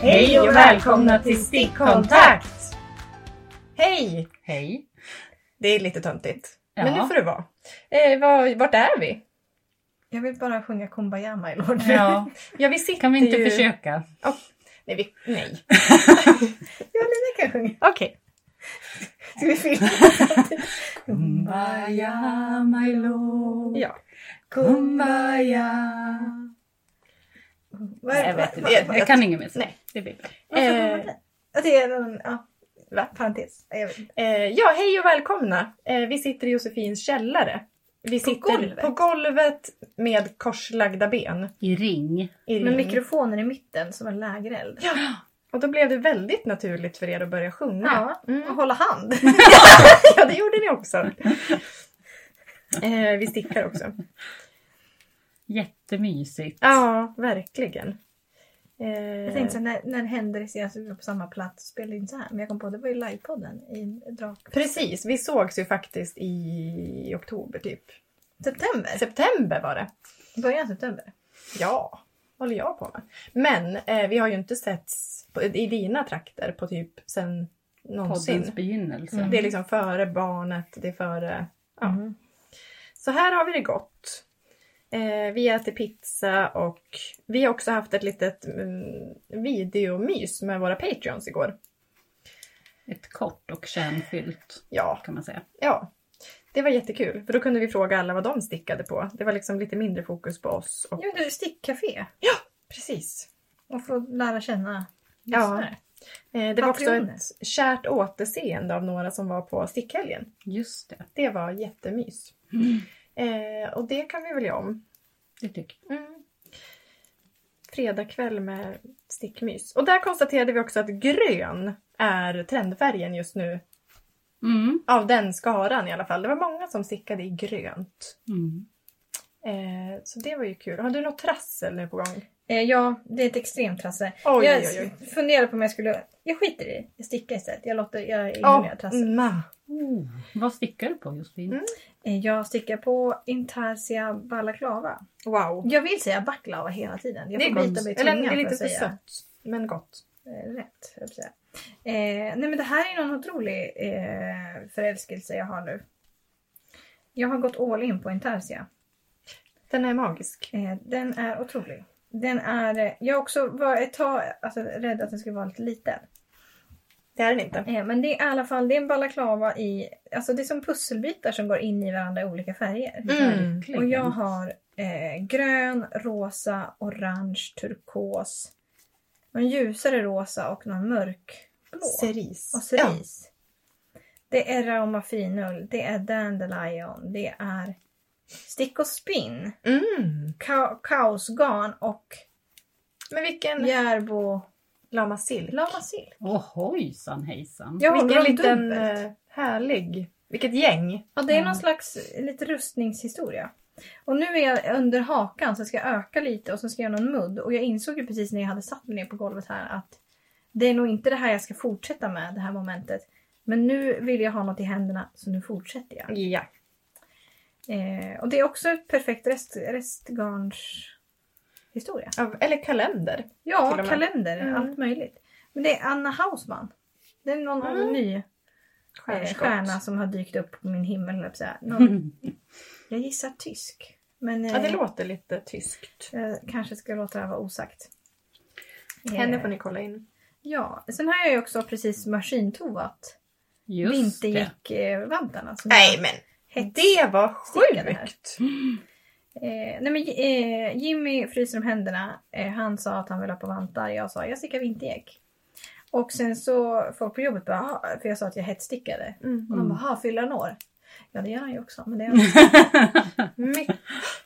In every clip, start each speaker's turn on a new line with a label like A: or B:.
A: Hej och välkomna till Stickkontakt! Hej!
B: Hej.
A: Det är lite töntigt, men
B: Ja.
A: det får det vara. Eh, var, vart är vi?
C: Jag vill bara sjunga Kumbaya my lord.
B: Ja,
A: Ja, vi sitter
B: kan vi inte
A: ju...
B: försöka?
A: Nej, vi... Nej.
C: Ja, Lina kan sjunga.
A: Okej.
C: Ska vi filma?
B: Kumbaya my lord.
A: Ja.
B: Kumbaya.
C: Vad
B: Nej,
C: är
B: jag vet
C: det?
B: inte. Jag- Jag kan ingen musik.
A: Nej.
B: Det blir bra.
A: Eh,
C: Det är en ja,
A: Va?
C: parentes. Ja, Jag vet inte.
A: eh, ja, hej och välkomna! Eh, vi sitter i Josefins källare. Vi
C: På
A: sitter
C: golvet?
A: på golvet med korslagda ben.
B: I ring.
A: I ring.
C: Med mikrofonen i mitten som en lägereld.
A: Ja. Och då blev det väldigt naturligt för er att börja sjunga.
C: Ja,
A: Mm.
C: och hålla hand.
A: Ja, det gjorde ni också. Eh, vi stickar också.
B: Jättemysigt.
A: Ja, verkligen. Eh,
C: Jag tänkte så här, när, när det händer senast vi var på samma plats spelade in så här. Men jag kom på det var ju livepodden i drak.
A: Precis, vi sågs ju faktiskt i oktober typ.
C: September.
A: September var det.
C: Början av september.
A: Ja, håller jag på med. Men eh, vi har ju inte setts på, i dina trakter på typ sen
B: Poddens
A: någonsin.
B: begynnelse.
C: Mm.
A: Det är liksom före barnet, det är före... Ja.
C: Mm.
A: Så här har vi det gott. Eh, vi äter pizza och vi har också haft ett litet mm, videomys med våra patreons igår.
B: Ett kort och kärnfyllt
A: Ja,
B: kan man säga.
A: Ja, det var jättekul. För då kunde vi fråga alla vad de stickade på. Det var liksom lite mindre fokus på oss. Och...
C: Jag gjorde stickcafé
A: Precis.
C: och få lära känna
A: Ja.
C: lyssnare.
A: Eh, Det var också
C: Patrioner.
A: ett kärt återseende av några som var på stickhelgen.
B: Just det,
A: Det var jättemys. Eh, och det kan vi väl göra om.
B: det tycker jag.
A: Mm. Fredag kväll med stickmys. Och där konstaterade vi också att grön är trendfärgen just nu.
B: Mm.
A: Av den skaran i alla fall. Det var många som stickade i grönt.
B: Mm.
A: Eh, så det var ju kul. Har du något trassel nu på gång?
C: Eh, ja, det är ett extremt trassel.
A: Oj,
C: jag
A: oj, oj.
C: funderar på om jag skulle... Jag skiter i det. Jag stickar istället. Jag låter... Jag är
A: Ja, mm.
C: oh. med trassel.
A: ma.
B: Oh, vad stickar du på Josefin?
A: Mm.
C: Eh, Jag stickar på intarsia balaklava.
A: Wow.
C: Jag vill säga baklava hela tiden. Jag
A: det är
C: får bita
A: gott.
C: mig i
A: Eller det är
C: tungan för
A: lite
C: att
A: för
C: säga
A: sött. Men gott.
C: eh, rätt. höll jag på att säga. Eh, nej men det här är någon otrolig eh, förälskelse jag har nu. Jag har gått all in på intarsia.
A: Den är magisk.
C: Eh, den är otrolig. Den är... eh, Jag också var ett tag alltså, rädd att den skulle vara lite liten.
A: Det är den inte.
C: Eh, Men det är i alla fall det är en balaklava i, alltså det är som pusselbitar som går in i varandra i olika färger.
A: Mm.
B: Verkligen.
C: Och jag har eh, grön, rosa, orange, turkos, någon ljusare rosa och någon mörkblå.
A: Cerise.
C: Och cerise. Det är raumafinull, det är dandelion, det är stick och spinn,
A: Ja. Mm.
C: ka- kaosgarn och
A: Men vilken...
C: järbo
A: Lama sill.
C: lamasil.
B: Åh hojsan hejsan.
C: Jag håller
A: vilken
C: dem
A: liten
C: dubbelt.
A: eh, härlig... Vilket gäng.
C: Ja, det är
B: Mm.
C: någon slags eh, lite rustningshistoria. Och nu är jag under hakan så jag ska öka lite och så ska jag göra någon mudd. Och jag insåg ju precis när jag hade satt mig ner på golvet här att det är nog inte det här jag ska fortsätta med, det här momentet. Men nu vill jag ha något i händerna så nu fortsätter jag.
A: Ja.
C: Eh, och det är också ett perfekt rest, restgarns historia.
A: Av- Eller kalender. Till och
C: Ja,
A: med.
C: kalender,
A: Mm.
C: allt möjligt. Men det är Anna Hausman. Det är någon
A: Mm.
C: ny eh,
A: Stjärnskott. Mm.
C: stjärna som har dykt upp på min himmel, höll jag på att säga. Någon Jag gissar tysk. Men
A: Ja, det
C: eh,
A: låter lite tyskt.
C: jag Eh, kanske ska låta det här vara osagt.
A: Henne
C: Eh,
A: får ni kolla in.
C: Ja, sen har jag ju också precis maskintovat
B: Just det.
C: eh, vintergick-vantarna. som jag
A: men
C: hets-
A: det var
C: Stickade här.
A: sjukt!
C: Eh, nej men eh, Jimmy fryser om händerna. Eh, han sa att han vill ha på vantar. Jag sa jag stickar vintergäck. Och sen så folk på jobbet bara, "Ah", för jag sa att jag hetsstickade.
A: Mm.
C: Och de
B: Mm.
C: bara, "Ah, fyller han år? Ja det gör han ju också. Men det gör han
A: My-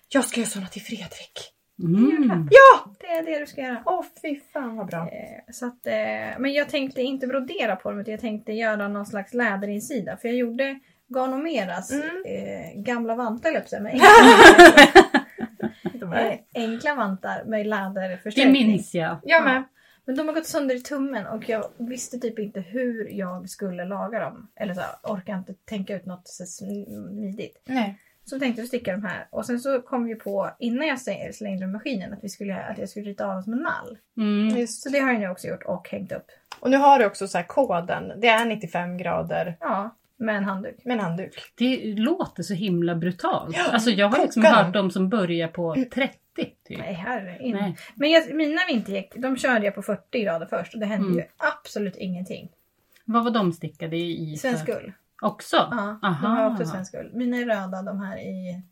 A: Jag ska göra såna till Fredrik.
B: Mm.
C: det, är det du ska göra.
A: Åh fy fan vad bra.
C: Eh, Så att, eh, men jag tänkte inte brodera på dem utan jag tänkte göra någon slags läderinsida. För jag gjorde Ganomeras
A: Mm.
C: eh, gamla vantar, höll jag på att säga, men
A: De
C: enkla,
A: är...
C: eh, enkla vantar med
B: Det
C: läderförstärkning.
B: minns jag.
A: Jag med.
C: Men de har gått sönder i tummen och jag visste typ inte hur jag skulle laga dem. Eller så orkar inte tänka ut något så smidigt.
A: Nej.
C: Så tänkte jag sticka de här och sen så kom vi på innan jag släng- slängde dem i maskinen att, vi skulle, att jag skulle rita av dem som en mall.
B: Mm.
C: Så det har jag nu också gjort och hängt upp.
A: Och nu har du också så här koden. Det är 95 grader
C: Ja, med en handduk.
A: med en handduk.
B: Det låter så himla brutalt.
A: Ja,
B: Alltså jag har liksom
A: kokar
B: hört
A: den.
B: de som börjar på 30 typ.
C: Nej, herre in.
B: Nej.
C: Men jag, mina vintergäck, de körde jag på 40 grader först och det hände
B: Mm.
C: ju absolut ingenting.
B: Vad var de stickade i? för-
C: Svensk ull.
B: Också?
C: Ja, de
B: Aha.
C: har också svensk ull. Mina är röda, de här i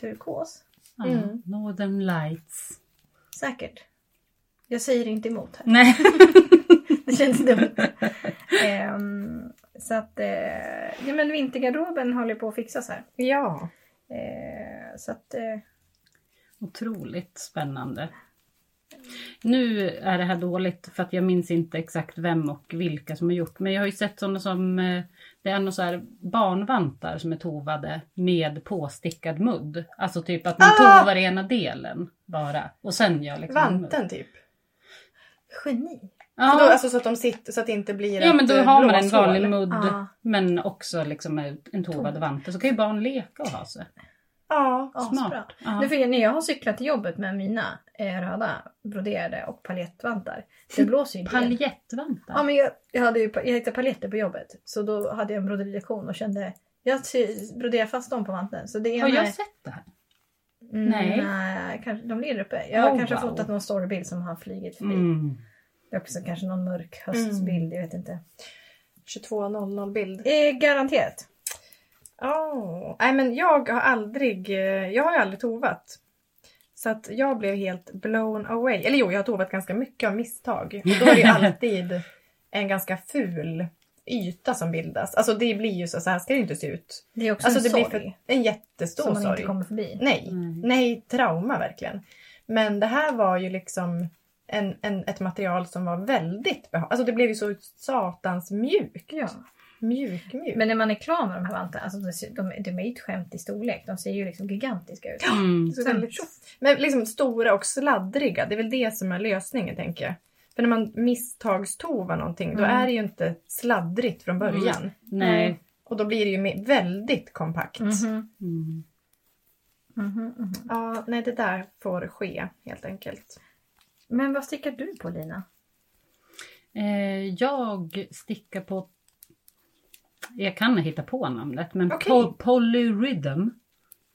C: turkos.
B: Ja,
A: Mm.
B: Northern Lights.
C: Säkert. Jag säger inte emot här.
B: Nej.
C: Det känns dumt. Ehm, så att, eh, ja men vintergarderoben håller på att fixas här.
A: Ja.
C: Eh, så att, eh,
B: Otroligt spännande. Nu är det här dåligt för att jag minns inte exakt vem och vilka som har gjort. Men jag har ju sett sådana som, eh, det är någon så här barnvantar som är tovade med påstickad mudd. Alltså typ att man
A: Ah!
B: tovar ena delen bara och sen gör liksom en mudd.
A: Vanten typ.
C: geni.
B: Ja.
A: Så, då, alltså, så att de sitter så att det inte blir
B: Ja men då
A: ett, eh,
B: har man en
A: blåshål.
B: vanlig mudd
C: Ja.
B: men också liksom en- en tovad vante. Så kan ju barn leka och ha sig.
A: Ja.
C: Asbra.
B: Smart. Ja.
C: Nu för när jag har cyklat till jobbet med mina eh, röda broderade och paljettvantar. Det blåser ju inte igen.
B: Paljettvantar.
C: Ja, men jag, jag, hade ju, jag hittade paljetter på jobbet. Så då hade jag en broderilektion och kände jag sy- broderar fast dem på vanten. Så det ena
B: har jag
C: är-
B: sett det här?
C: Mm,
B: Nej.
C: nej, kanske, de ligger uppe. Jag har
B: Oh,
C: kanske
B: wow.
C: fotat någon storybild som har flugit förbi.
B: Mm.
C: Det är också kanske någon mörk höstbild, jag vet inte.
A: 22.00 bild.
C: Eh, garanterat.
A: Oh. Nej men jag har aldrig, eh, jag har ju aldrig tovat. Så att jag blev helt blown away. Eller jo, jag har tovat ganska mycket av misstag. Och då är det ju alltid en ganska ful yta som bildas. Alltså det blir ju så, så här ska det ju inte se ut.
C: Det är också
A: Alltså
C: en
A: det
C: sorg
A: blir för, en jättestor
C: som man
A: sorg. Mm.
C: inte kommer förbi.
A: Nej,
C: Mm.
B: Nej.
A: nej trauma verkligen. Men det här var ju liksom en, en, ett material som var väldigt behagligt. Alltså det blev ju så satans mjukt.
C: Ja.
A: Mjuk, mjuk.
C: Men när man är klar med de här vantarna, alltså de, ser- de, de är ju ett skämt i storlek. De ser ju liksom gigantiska ut.
B: Mm.
A: Så väldigt tjoff. Men liksom stora och sladdriga, det är väl det som är lösningen tänker jag. För när man misstagstovar någonting då
C: Mm.
A: är det ju inte sladdrigt från början.
B: Nej.
A: Och då blir det ju me- väldigt kompakt.
C: Mhm.
B: Mm.
C: Mhm, mhm.
A: Ja, nej det där får ske helt enkelt.
C: Men vad stickar du på Lina?
B: Eh, jag stickar på... Jag kan hitta på namnet men
A: Okej.
B: po- Polyrhythm.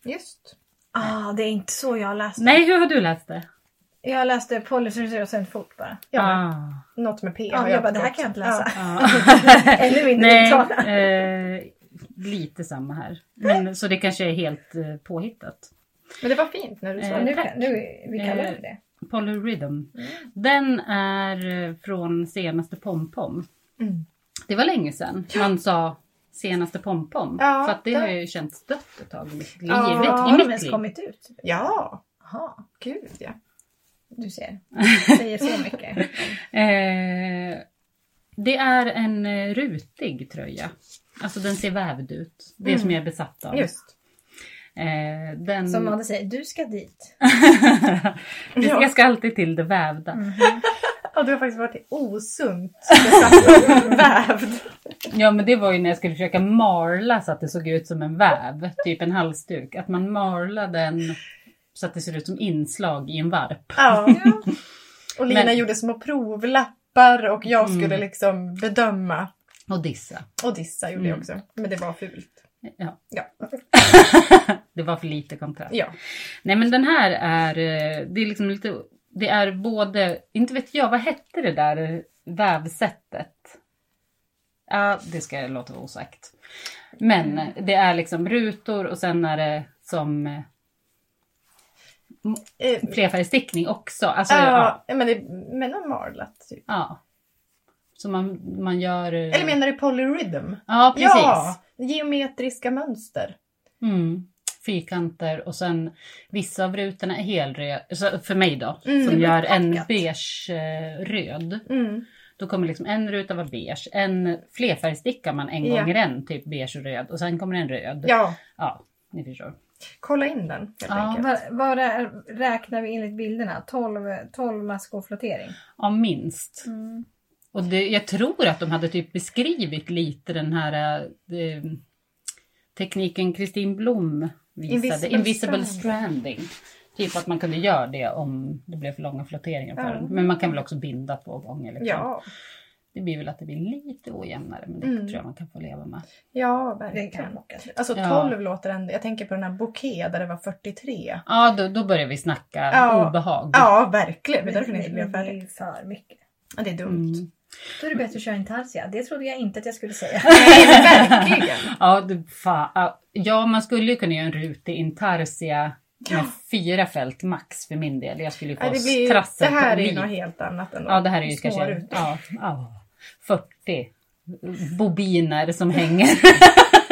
A: Just.
C: Ah, det är inte så jag läste.
B: Nej, hur har du läst det?
C: Jag läste policy och sen fort bara.
A: Ja, men
B: Ah.
A: Något med P
C: Ja, jag bara, det här kan jag inte läsa.
B: Ah.
C: Ännu mindre
B: Nej,
C: uttala.
B: eh, lite samma här. Men, så det kanske är helt eh, påhittat.
A: Men det var fint när du sa
B: Eh,
A: det.
C: Nu, kan- nu, vi kallar det
B: Eh,
C: för det.
A: Mm.
B: Polyrhythm. Den är eh, från senaste pompom.
A: Mm.
B: Det var länge sedan man sa senaste pompom.
A: Ja,
B: för att det
A: det-
B: har ju känts dött ett tag i mitt liv.
A: Ja,
C: Har
B: I
C: de
B: mitt
C: ens
B: liv.
C: kommit ut?
A: Ja,
C: Jaha,
A: gud ja.
C: du ser. Säger så mycket.
B: Eh, det är en eh, rutig tröja. Alltså den ser vävd ut. Det
A: Mm.
B: som jag är besatt av.
A: Just.
B: Eh, den...
C: Som Madde säger, du ska dit.
B: Vi-
A: Ja.
B: Jag ska alltid till det vävda.
A: Ja, du har faktiskt varit osunt besatt av vävd.
B: Ja men det var ju när jag skulle försöka marla så att det såg ut som en väv. Typ en halsduk. Att man marlar den så att det ser ut som inslag i en varp.
A: Ja. Och Lina
B: Men-
A: gjorde små provlappar och jag
B: Mm.
A: skulle liksom bedöma.
B: Och dissa.
A: Och dissa gjorde jag
B: Mm.
A: också. Men det var fult.
B: Ja.
A: Ja.
B: Det var för lite kontrast.
A: Ja.
B: Nej men den här är, eh, det är liksom lite, det är både, inte vet jag, vad hette det där vävsättet? Ja, det ska jag låta vara osagt. Men eh, det är liksom rutor och sen är det som eh,
A: Eh,
B: flerfärgstickning också. Alltså, ja.
A: ja, men det men någon marlat typ.
B: ja. Så man, man gör... eh,
A: Eller menar du polyrhythm?
B: Ja, precis.
A: Mm. Ja, geometriska mönster.
B: Mm. Fyrkanter och sen vissa av rutorna är helröd, så för mig då,
A: Mm.
B: som gör en
C: Uppackat.
B: beige eh, röd.
A: Mm.
B: Då kommer liksom en ruta vara beige, en flerfärgstickar man en
A: Ja.
B: gång i den, typ beige och röd och sen kommer en röd.
A: Ja,
B: Ja, ni förstår.
A: kolla in den helt
B: Ja,
A: enkelt.
C: Vad- Vad rä- räknar vi enligt bilderna? 12, 12 mask och flottering?
B: Ja, minst. Och det, jag tror att de hade typ beskrivit lite den här eh, tekniken Kristin Blom visade
A: Invisible
B: Invisible, stranding. Typ att man kunde göra det om det blev för långa flotteringar för
A: Ja.
B: den. Men man kan väl också binda två gånger. Liksom.
A: Ja,
B: Det blir väl att det blir lite ojämnare men det
A: Mm.
B: tror jag man kan få leva med.
A: ja
C: Det kan
A: verkligen.
C: lockas lite.
A: Alltså
B: Ja.
A: 12 låter ändå... Jag tänker på den här Bouquet där det var 43.
B: Ja, då, då börjar vi snacka
A: Ja.
B: obehag.
A: Ja, verkligen. Det är därför den inte
C: Men
A: blev
C: det är
A: färdig.
C: ju för mycket.
A: Ja, det är dumt.
B: Mm.
C: Då är det bättre att köra intarsia. Det trodde jag inte att jag skulle säga.
A: Nej, verkligen.
B: Ja, du, fa, ja, ja, man skulle ju kunna göra en rutig intarsia med fyra fält max för min del. Jag skulle ju få
A: Nej, det, blir, ju- det
B: trassel på
A: här är ju
B: liv.
A: något helt annat ändå.
B: Ja, det här är ju
A: Små
B: kanske
A: rutor.
B: ja, ja, 40 bobiner som hänger.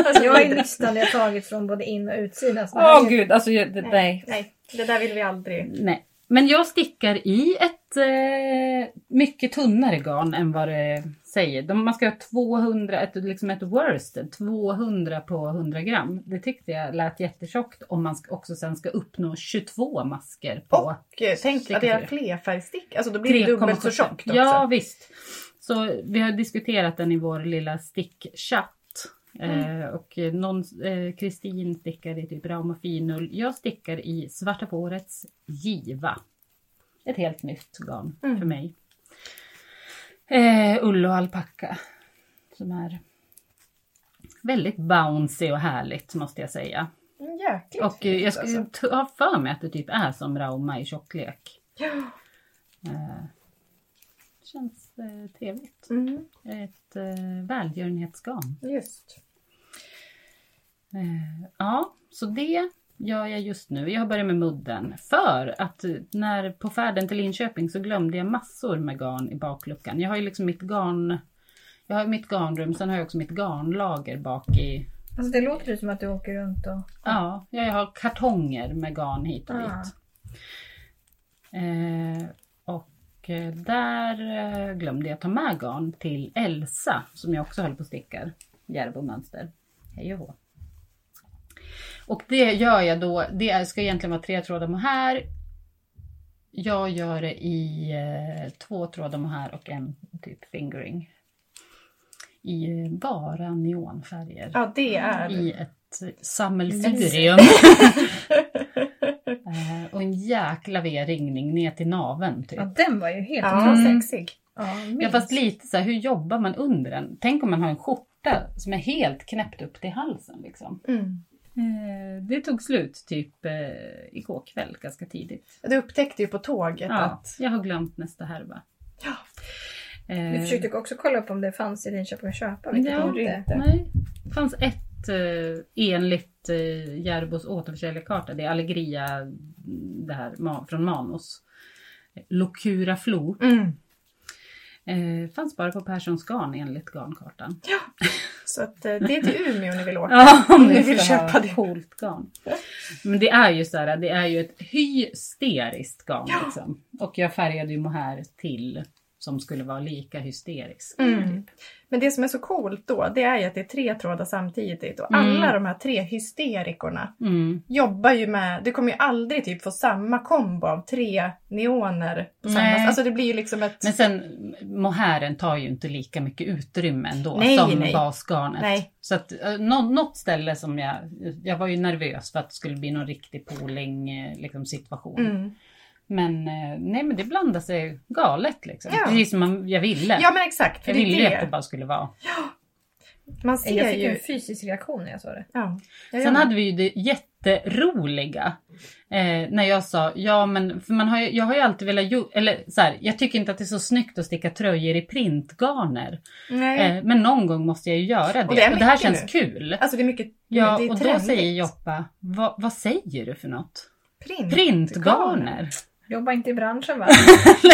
C: Alltså, jag har ju listan jag tagit från både in och utsidan. så det här
B: Åh
C: är ju-
B: gud, alltså jag, det,
A: Nej,
B: nej.
A: nej, det där vill vi aldrig.
B: nej. Men jag stickar i ett eh, mycket tunnare garn än vad det säger. De, man ska ha 200, ett, liksom ett worsted, 200 på 100 gram. Det tyckte jag lät jättetjockt om man ska, också sen ska uppnå 22 masker på.
A: Och eh, tänk att göra flerfärgstick, alltså då blir det dubbelt så
B: 3,75.
A: tjockt också.
B: Ja visst. Så vi har diskuterat den i vår lilla stickchatt.
A: Mm.
B: Eh, och någon, eh, Kristin stickar i typ ram och finull. Jag stickar i Svarta fårets giva. Ett helt nytt garn
A: Mm.
B: för mig. Eh, ull och alpacka. Som är väldigt bouncy och härligt måste jag säga.
A: Mm, Jäkligt
B: Och eh,
A: fint,
B: jag skulle
A: alltså.
B: t- ha för mig att det typ är som Rauma i tjocklek.
A: Ja.
B: Eh, känns eh, trevligt.
A: Mm,
B: Ett eh, välgörenhetsgarn.
A: just.
B: Eh, ja, så det gör jag just nu. Jag har börjat med mudden. För att eh, när, på färden till Linköping så glömde jag massor med garn i bakluckan. Jag har ju liksom mitt garn... Jag har mitt garnrum, sen har jag också mitt garnlager bak i...
C: Alltså, det låter ju som att du åker runt och...
B: Ja, jag har kartonger med garn hit och dit.
C: Ah.
B: Eh, och eh, där eh, glömde jag ta med garn till Elsa som jag också håller på och stickar. Järbomönster. Hej och hå. Och det gör jag då, det är- ska egentligen vara tre trådar mohair. Jag gör det i eh, två trådar mohair och en typ fingering. I eh, bara neonfärger.
A: Ja, det är...
B: I ett sammelsurium. Eh, och en jäkla V-ringning ner till naven typ.
C: Ja, den var ju helt...
A: Ja,
B: Mm.
A: sexig.
C: Ja,
B: Ja
C: minst.
B: fast lite så här, hur jobbar man under den? Tänk om man har en skjorta som är helt knäppt upp till halsen liksom.
A: Mm.
B: Eh, det tog slut typ eh, igår kväll ganska tidigt.
A: Du upptäckte ju på tåget
B: Ja,
A: att...
B: jag har glömt nästa härva.
A: Ja.
B: Eh,
C: Vi försökte också kolla upp om det fanns i Linköping att köpa, vilket
B: Ja.
C: det inte.
B: Nej, det fanns ett eh, enligt eh, Järbos återförsäljarkarta. Det är Allegria mm, det här, ma- från Manos. Locura Flo.
A: Mm.
B: Eh, fanns bara på Perssons garn enligt garnkartan.
A: Så att, eh, det är till Umeå ni vill åka.
B: Ja,
A: Om ni vill
B: ska ha
A: köpa det.
B: Coolt garn. Men det är ju så här, det är ju ett hysteriskt garn liksom. Och jag färgade ju mohair till som skulle vara lika hysterisk. Typ.
A: Mm. Men det som är så coolt då, det är ju att det är tre trådar samtidigt och alla de här tre hysterikorna
B: Mm.
A: jobbar ju med, du kommer ju aldrig typ få samma kombo av tre neoner på samma
B: Nej.
A: sätt. Alltså det blir ju liksom ett...
B: Men sen mohairen tar ju inte lika mycket utrymme ändå
A: Nej,
B: som
A: nej.
B: basgarnet.
A: Nej.
B: Så att eh, nå- något ställe som jag, jag var ju nervös för att det skulle bli någon riktig pooling eh, liksom, situation.
A: Mm.
B: Men eh, nej men det blandar sig galet liksom.
A: Ja.
B: Precis som man, jag ville.
A: Ja men exakt, för
B: jag
A: det
B: ville ju
A: är
B: att det
A: det.
B: bara skulle vara.
A: Man
C: Jag
A: ser
C: fick en
A: ju...
C: fysisk reaktion när jag sa det.
A: Ja. Jag
B: Sen
A: gör
B: hade vi ju det jätteroliga. Eh, när jag sa, ja men för man har ju, jag har ju alltid velat, ju, eller så här, jag tycker inte att det är så snyggt att sticka tröjor i printgarner.
A: det. Nej.
B: Eh, men någon gång måste jag ju göra det.
A: Och det är
B: Och det här
A: mycket
B: känns
A: nu.
B: kul.
A: Alltså det är mycket...
B: Ja,
A: det är
B: och då
A: trendigt.
B: säger Joppa, "Va- vad säger du för något?
A: Print.
B: Printgarner?
C: Jobba inte i branschen va?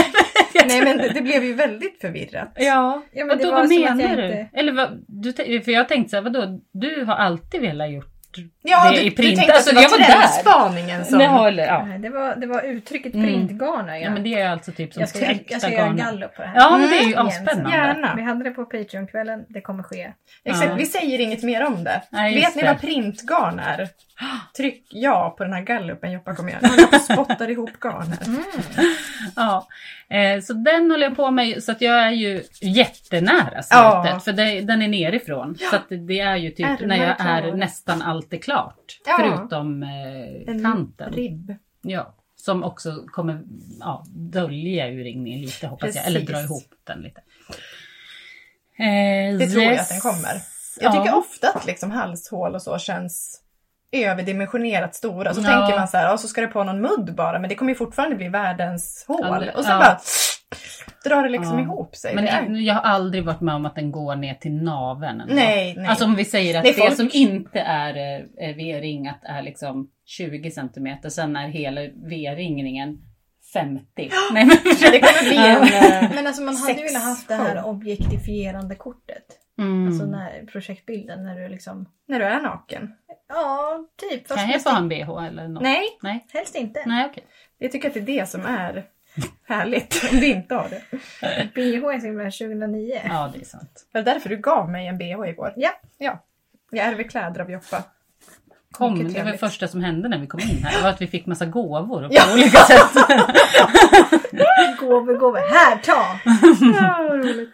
A: Nej men det, det blev ju väldigt förvirrat.
B: Ja,
C: Ja, men
B: men
C: det
B: då,
C: var
B: vad
C: som att jag
B: menar du?
C: inte-
B: Eller vad, du, tän- för jag tänkte så här, vadå, du har alltid velat gjort
A: Ja,
B: Det är
A: du, du
B: print.
A: tänkte
B: Alltså,
A: att det
B: jag
A: var liksom.
B: var där.
A: trendspaningen som...
B: Nej, eller, ja.
C: Nej, det, var, det var uttrycket
B: Mm.
C: printgarna.
B: ja, men det är alltså typ som
C: jag ska, jag, jag
B: tryckta
C: ska göra en
B: garner.
C: gallup på det här.
B: Ja, men det är ju
C: Mm.
B: avspännande.
A: Gärna.
C: Vi hade det på Patreon-kvällen, det kommer ske.
A: Exakt,
B: Ja.
A: vi säger inget mer om det.
B: Nej,
A: Vet
B: just
A: ni
B: det.
A: vad printgarn är? Tryck ja på den här gallupen Joppa kommer göra. Nu håller jag på och spottar ihop garn här.
B: Mm. Ja, eh, så den håller jag på med så att jag är ju jättenära slutet
A: Ja.
B: för det, den är nerifrån. Så att det är ju typ
A: Ärmar
B: när jag
A: kvar.
B: är nästan allt allt är klart.
A: Ja.
B: Förutom eh,
A: En
B: kanten.
A: ribb.
B: Ja, som också kommer ja, dölja urringningen lite hoppas jag. Eller dra
A: Precis.
B: ihop den lite. Eh,
A: Det tror jag
B: yes.
A: att den kommer. Jag tycker
B: ja.
A: ofta att liksom halshål och så känns överdimensionerat stora. Så
B: Ja.
A: tänker man så här, "Ja, så ska det på någon mudd bara, men det kommer ju fortfarande bli världens hål.
B: Ja, det-
A: och så
B: ja.
A: bara drar det liksom
B: Ja.
A: ihop sig.
B: Men
A: det är...
B: jag- jag har aldrig varit med om att den går ner till naveln. ändå.
A: Nej, nej.
B: Alltså om vi säger att
A: Nej,
B: det
A: folk-
B: som inte är eh, V-ringat är liksom 20 centimeter, sen är hela V-ringningen 50. Nej, men...
A: Det kommer bli en... eh,
C: Men alltså man hade ju
A: Sex.
C: velat haft det här
A: Ja.
C: objektifierande kortet.
B: Mm.
C: Alltså när, projektbilden när du liksom...
A: När du är naken.
C: Ja, typ. Fast
B: kan jag
C: helst,
B: få ha en bh eller något?
A: Nej,
B: Nej,
C: helst inte.
B: Nej okej.
A: jag tycker att det är det som är härligt. Om du inte har det.
C: BH är så himla 2009.
B: Ja, det är sant.
A: Var det därför du gav mig en bh igår?
C: Ja.
A: Ja. Jag ärver kläder av Joppa.
B: Kom,
A: Mycket
B: det var det
A: trevligt.
B: första som hände när vi kom in här, var att vi fick massa gåvor på
A: Ja.
B: olika sätt.
C: Gåvor, gåvor. Här, ta!
A: Ja, vad roligt.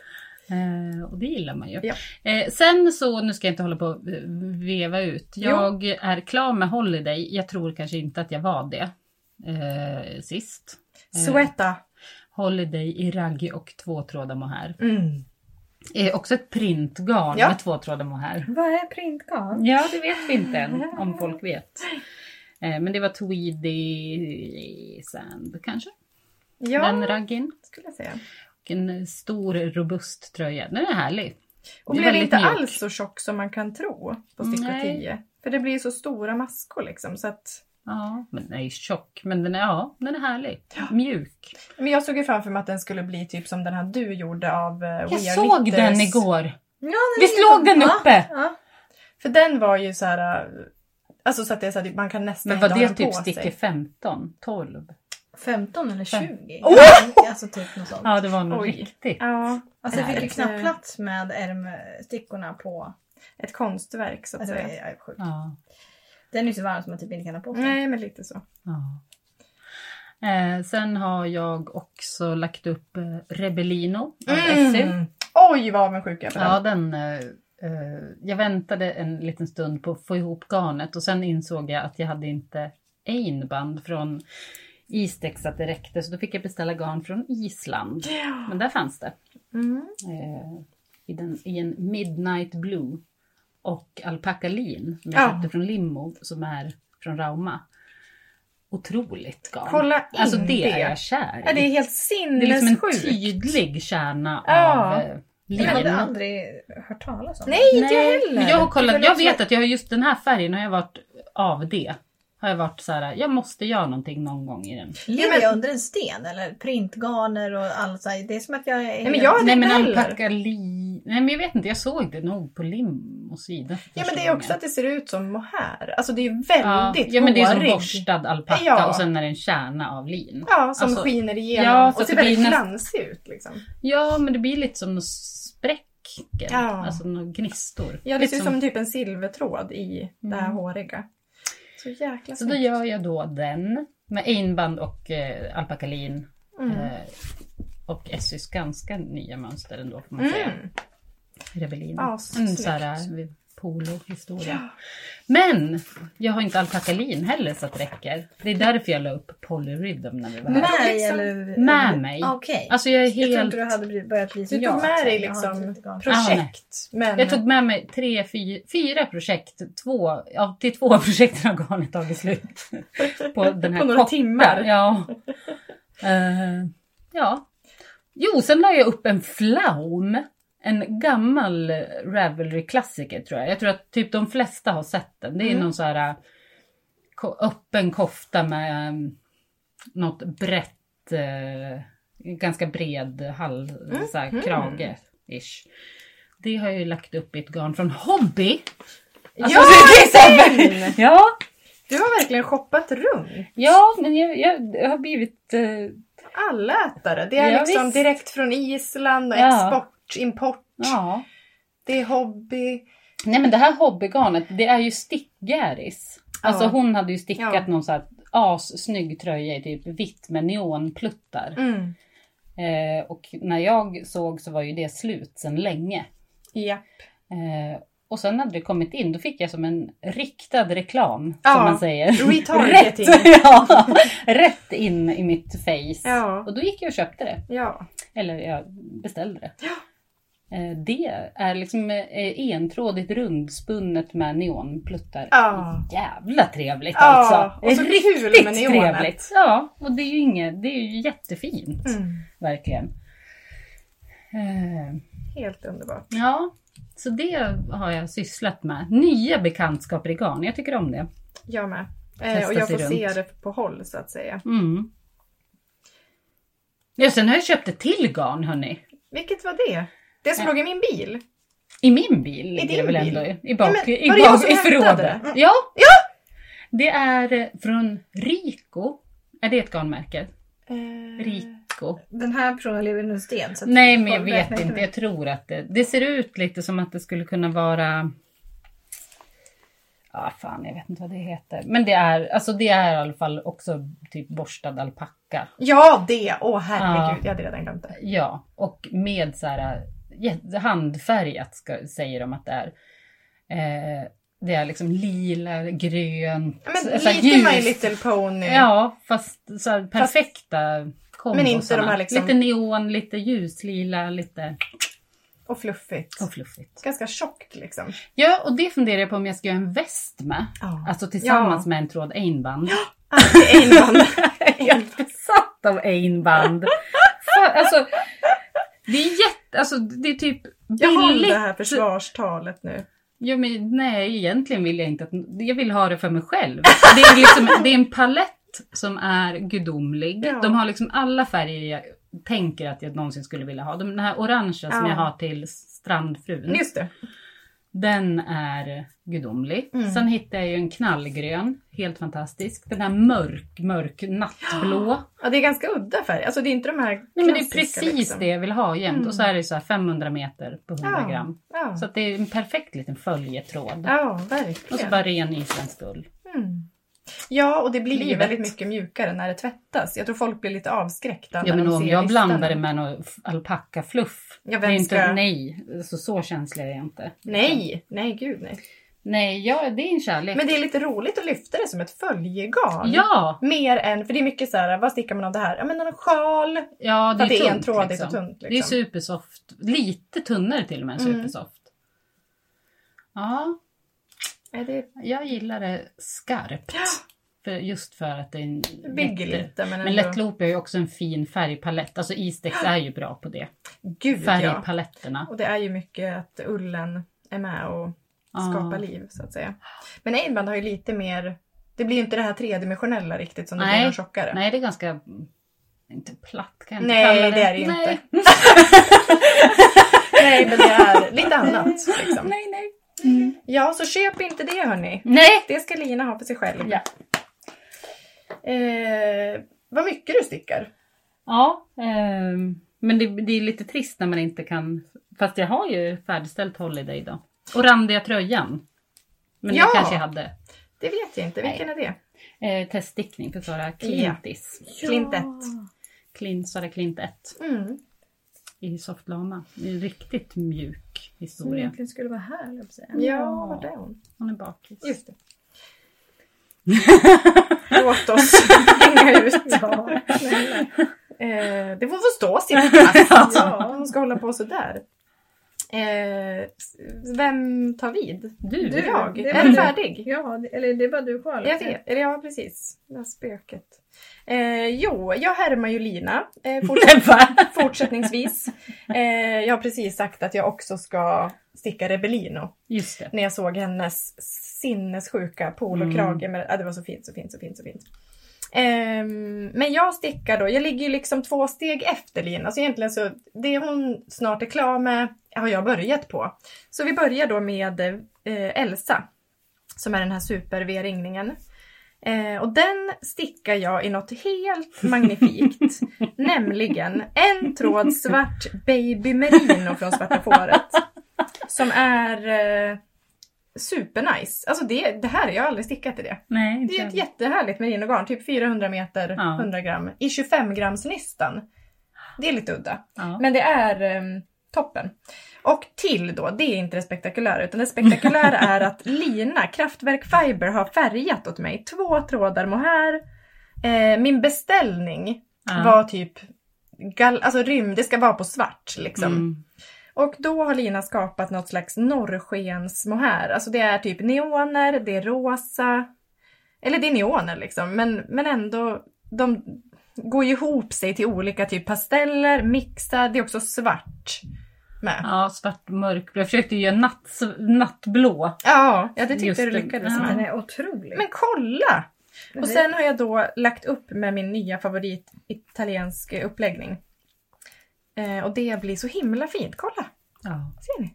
B: Eh, och det gillar man ju.
A: Ja.
B: Eh, sen så, nu ska jag inte hålla på och eh, veva ut. Jag är klar med Holiday. Jag tror kanske inte att jag var det eh, sist.
A: Sweata.
B: Holiday i raggi och tvåtrådar mohair.
A: Mm.
B: Eh, också ett printgarn
A: Ja.
B: med tvåtrådar mohair.
C: Vad är printgarn?
B: Ja, det vet vi inte än om folk vet. Eh, men det var tweedy sand kanske, den
A: Ja,
B: raggin.
A: skulle jag säga.
B: Och En stor robust tröja. Den är härlig.
A: Och
B: Det är
A: blir
B: väldigt
A: inte
B: mjuk.
A: alls så tjock som man kan tro på sticka
B: Nej.
A: 10. För det blir ju så stora maskor liksom. Så att...
B: Ja, men den är ju tjock. Men den är, ja, den är härlig. Mjuk.
A: Men jag såg ju framför mig att den skulle bli typ som den här du gjorde av eh, We
B: Jag
A: Are
B: såg
A: Knitters.
B: den igår.
C: Ja, den
B: Visst låg den
C: Ja,
B: uppe?
C: Ja.
A: För den var ju så här... eh, Alltså så att det är så att man kan nästan
B: Men var
A: inte
B: det
A: ha den
B: typ
A: på
B: sticker
A: sig.
B: 15, 12?
C: 15 eller
B: Fem.
C: 20. Ja, Alltså typ något sånt.
B: Ja, det var nog
A: Oj.
B: riktigt.
A: Ja,
C: Alltså jag fick ju
A: Ett, eh,
C: knappt plats med ärmstickorna på.
A: ett konstverk så att
C: Alltså, jag
A: säga.
C: jag är sjuk.
B: Ja,
C: Den är ju så varm som man typ inte kan ha på sig.
A: Nej, men lite så.
B: ja. Eh, sen har jag också lagt upp eh, Rebellino av
A: Mm.
B: Essy.
A: Oj, vad avundsjuk jag är på
B: Ja,
A: den.
B: den, eh, eh, jag väntade en liten stund på att få ihop garnet och sen insåg jag att jag hade inte einband från Istex att det räckte så då fick jag beställa garn från Island.
A: Ja.
B: Men där fanns det.
A: Mm.
B: Eh, i, den, I en Midnight Blue och Alpaca Lean som jag
A: Ja.
B: köpte från Limmo som är från Rauma. Otroligt garn.
A: Kolla in
B: alltså det är
A: det.
B: jag kär i.
A: Ja, det är helt
B: Det är liksom en
A: sinnessjukt.
B: tydlig kärna
A: Ja.
B: av eh,
C: Jag hade
B: lin.
C: aldrig hört talas om
A: Nej, inte jag heller.
B: Men jag har kollat,
A: Det är
B: jag
A: väl
B: vet
A: också-
B: att jag har just den här färgen har jag varit av det. Har jag varit så här, jag måste göra någonting någon gång i den.
C: den.
A: Ja,
C: Lever
A: men-
C: jag under en sten eller printgarner och allt så här. Det är som att jag är...
A: men jag- hade
B: Nej men
A: inte heller.
B: alpaka li... Nej men jag vet inte, jag såg det nog på lim och sida. för
A: Ja men
B: första
A: det är också
B: gången.
A: att det ser ut som mohair. Alltså det är ju
B: Ja,
A: väldigt
B: ja men det är som
A: hårig.
B: borstad alpacka
A: Ja.
B: och sen är det en kärna av lin.
A: Ja, som
B: Alltså,
A: skiner igenom
B: ja, så
A: och
B: att
A: ser
B: det blir
A: väldigt
B: näst-
A: glansig ut liksom.
B: Ja men det blir lite som några spräckor,
A: Ja.
B: alltså några gnistor.
A: Ja, det
B: Lite
A: ser ut som typ en silvertråd i det här
B: liksom. Mm.
A: håriga. Så jäkla
B: Så då gör jag då den med einband och eh, alpaka lin.
A: Mm.
B: Eh, och Essys ganska nya mönster ändå får man säga.
A: Mm.
B: Rebellin.
A: Ja,
B: en
A: snyggt.
B: sån här eh, polohistoria.
A: Ja.
B: Men jag har inte alpakalin heller så att det räcker. Det är därför jag la upp polyrhythm när vi var
A: Men-
B: här.
C: Med
A: liksom-
C: eller...
B: Med mig.
C: Okej.
B: Alltså jag är
C: Jag tror
B: helt...
C: inte du hade blivit- börjat bli
A: Du
C: som
A: tog
C: jag.
A: med dig
C: Jag har inte
A: liksom
C: lite garn.
A: projekt. men...
B: Jag tog med mig tre, fy, fyra projekt. Två, ja, till två av projekten har garnet tagit slut. På den här
A: På några
B: korta-
A: timmar.
B: Ja. Eh, ja. Jo, sen la jag upp en flaum. En gammal Ravelry-klassiker tror jag. Jag tror att typ de flesta har sett den. Det är
A: Mm.
B: någon så här eh, ko- öppen kofta med eh, något brett, eh, ganska bred hall, så här, krage. Ish. Det har jag ju lagt upp i ett garn från Hobby. Alltså,
A: Ja,
B: till exempel.
A: Jane!
B: ja,
A: Du har verkligen shoppat runt.
B: ja, men jag, jag, jag har blivit... Eh,
A: Allätare. Det är
B: Ja,
A: liksom
B: visst.
A: direkt från Island och
B: Ja.
A: export, import.
B: ja.
A: Det är hobby.
B: Nej men det här hobbygarnet, det är ju stickgäris. Alltså
A: Ja.
B: hon hade ju stickat
A: Ja.
B: någon så här assnygg tröja i typ vitt med neonpluttar.
A: Mm.
B: Eh, och när jag såg så var ju det slut sedan länge.
A: Ja.
B: Eh, Och sen när det kommit in, då fick jag som en riktad reklam,
A: Ja.
B: som man säger. Rätt,
A: Retargeting.
B: ja, rätt in i mitt face.
A: Ja.
B: Och då gick jag och köpte det.
A: Ja.
B: Eller jag beställde det. Eh, Det är liksom eh, entrådigt rundspunnet med neonpluttar.
A: Ja.
B: Jävla trevligt
A: Ja,
B: alltså!
A: och så
B: Riktigt
A: kul med neonet.
B: trevligt! Ja, och det är ju, inget, det är ju jättefint.
A: Mm.
B: Verkligen. Eh,
A: Helt underbart.
B: Ja, så det har jag sysslat med. Nya bekantskaper i garn, jag tycker om det.
A: Jag med. Eh,
B: Testa
A: och jag
B: sig
A: får se
B: runt.
A: det på håll så att säga.
B: Mm. Ja, sen har jag köpt ett till garn hörni.
A: Vilket var det? Det som låg i min bil?
B: I min bil ligger det
A: din
B: väl
A: bil?
B: ändå i- i, bak,
A: Nej, men
B: i,
A: var det jag
B: bak,
A: som
B: i
A: hämtade
B: förrådet.
A: det?
B: Ja. Det är eh, från Rico. Är det ett garnmärke?
A: Eh,
B: Rico?
C: Den här personen lever under en sten. Så att
B: Nej men jag
C: folk
B: vet
C: räknar
B: inte.
C: med.
B: Jag tror att det, det ser ut lite som att det skulle kunna vara Ja, fan jag vet inte vad det heter. Men det är, alltså det är i alla fall också typ borstad alpacka.
A: Ja, det! Åh herregud, jag hade redan glömt det.
B: Ja, och med så här eh, jätte- handfärgat ska, säger de att det är. Eh, det är liksom lila, grönt,
A: Ja, Men
B: så här
A: lite My Little Pony.
B: Ja, fast så här perfekta kombosarna.
A: inte de här liksom-
B: Lite neon, lite ljuslila, lite
A: Och fluffigt.
B: och fluffigt.
A: Ganska tjockt liksom.
B: Ja, och det funderar jag på om jag ska göra en väst med.
A: Ja.
B: Alltså tillsammans
A: Ja.
B: med en tråd einband.
A: Einband.
B: helt besatt av einband. Fan, alltså, det är jätte... Alltså, det är typ
A: Jag håller det
B: billigt.
A: här försvarstalet nu.
B: Jo, men, nej, egentligen vill jag inte att... Jag vill ha det för mig själv. Det är, liksom, det är en palett som är gudomlig.
A: Ja.
B: De har liksom alla färger jag tänker att jag någonsin skulle vilja ha. De- Den här orangea som
A: Ja.
B: jag har till strandfrun,
A: Just det.
B: den är gudomlig.
A: Mm.
B: Sen hittade jag ju en knallgrön, helt fantastisk. Den här mörk, mörk nattblå.
A: Ja, det är ganska udda färger. Alltså det är inte de här
B: Nej men det är
A: klassiska,
B: precis
A: liksom.
B: det jag vill ha jämt.
A: Mm.
B: Och så är det så här 500 meter på 100
A: Ja.
B: gram.
A: Ja,
B: Så att det är en perfekt liten följetråd.
A: ja
B: Och så
A: verkligen.
B: bara ren isländsk ull.
A: Mm. Ja, och det blir ju
B: Livet.
A: väldigt mycket mjukare när det tvättas. Jag tror folk blir lite avskräckta när
B: Ja men
A: de
B: om
A: ser
B: jag
A: listan.
B: blandar det med någon f- alpackafluff.
A: Ja, vem
B: det är inte,
A: ska-
B: nej, så, så känslig är jag inte.
A: Nej, nej gud nej.
B: Nej, ja, det är en kärlek.
A: Men det är lite roligt att lyfta det som ett följegarn.
B: Ja,
A: Mer än, för det är mycket så här, vad stickar man av det här? Ja men någon sjal.
B: ja det är,
A: För det är
B: tunt,
A: entrådigt
B: liksom.
A: och tunt, liksom.
B: Det är supersoft. Lite tunnare till och med än
A: Mm.
B: supersoft. Ja,
A: Nej, det
B: jag gillar det skarpt. För, just för att det är en
A: bygger
B: jätte-
A: lite men ändå.
B: Men lättlop är ju också en fin färgpalett. Alltså Istex är ju bra på det.
A: Gud ja.
B: Färgpaletterna.
A: Och det är ju mycket att ullen är med och skapar
B: Ah.
A: liv så att säga. Men einband har ju lite mer, det blir ju inte det här tredimensionella riktigt som det
B: Nej.
A: blir med tjockare.
B: Nej, det är ganska... mm, Inte platt kan jag inte
A: Nej,
B: kalla
A: det är det ju
B: nej.
A: inte. Nej men det är lite annat liksom.
B: Nej, nej.
A: Ja så köp inte det hörni.
B: Nej!
A: Det ska Lina ha för sig själv.
B: Ja,
A: Eh, vad mycket du stickar.
B: ja ehm, men det, det är lite trist när man inte kan... Fast jag har ju färdigställt Holiday då. Och randiga tröjan. Men
A: Ja.
B: det kanske jag hade.
A: Det vet jag inte, vilken är det?
B: Eh, teststickning för Sara Klintis.
A: Klintet.
B: Klin, Sara Klint 1
A: Mm.
B: i softlama. Det är En riktigt mjuk
A: Mm.
C: Som
B: historia.
C: egentligen skulle vara här, höll jag på att säga.
A: Ja, vart är hon?
B: Hon är bakis.
A: Just det. Låt oss hänga ut.
C: Ja, snälla.
A: Eh, det får få stå sin plats.
C: Ja.
A: Om hon ska hålla på sådär. Eh, vem tar vid?
B: Du,
A: Du,
C: Du,
A: jag.
C: det
A: är
C: var
A: du
C: du.
A: färdig?
C: ja, det- eller det är bara du kvar. liksom.
A: Jag vet, eller ja precis. Det här spöket. Eh, jo, jag härmar ju Lina. Eh, fortsätt-
B: va?
A: fortsättningsvis. Eh, jag har precis sagt att jag också ska sticka Rebellino.
B: Just det.
A: när jag såg hennes sinnessjuka polokrage. med Ja, det var så fint, så fint, så fint, så fint. Ehm, men jag stickar då, jag ligger ju liksom två steg efter Lina. Så egentligen så, det hon snart är klar med har jag börjat på. Så vi börjar då med eh, Elsa. Som är den här super-V-ringningen. Eh, och den stickar jag i något helt magnifikt. nämligen en tråd svart baby merino från Svarta Fåret. Som är eh, supernice. Alltså det, det här, jag har aldrig stickat i det.
B: Nej, inte
A: Det är ett
B: jag.
A: jättehärligt merinogarn, typ 400 meter,
B: Ja.
A: 100 gram, i 25 grams nystan. Det är lite udda.
B: ja.
A: Men det är eh, toppen. Och till då, det är inte det spektakulära utan det spektakulära är att Lina, Kraftwerk Fiber, har färgat åt mig två trådar mohair. Eh, min beställning
B: Ja.
A: var typ gal- alltså rymd, det ska vara på svart liksom.
B: Mm.
A: Och då har Lina skapat något slags norrskens mohair. Alltså det är typ neoner, det är rosa. Eller det är neoner liksom, men, men ändå, de går ju ihop sig till olika typ pasteller, mixar, det är också svart med.
B: Ja, svart mörkblå. Jag försökte ju göra natt, nattblå.
A: Ja, ja det tyckte
B: Just
A: du
B: det.
A: lyckades
B: Ja. Mm.
A: med.
C: Alltså, Den är otrolig.
A: Men kolla!
C: Den
A: Och
C: är-
A: sen har jag då lagt upp med min nya favorit italiensk uppläggning. Eh, och det blir så himla fint. Kolla!
B: Ja.
A: Ser ni?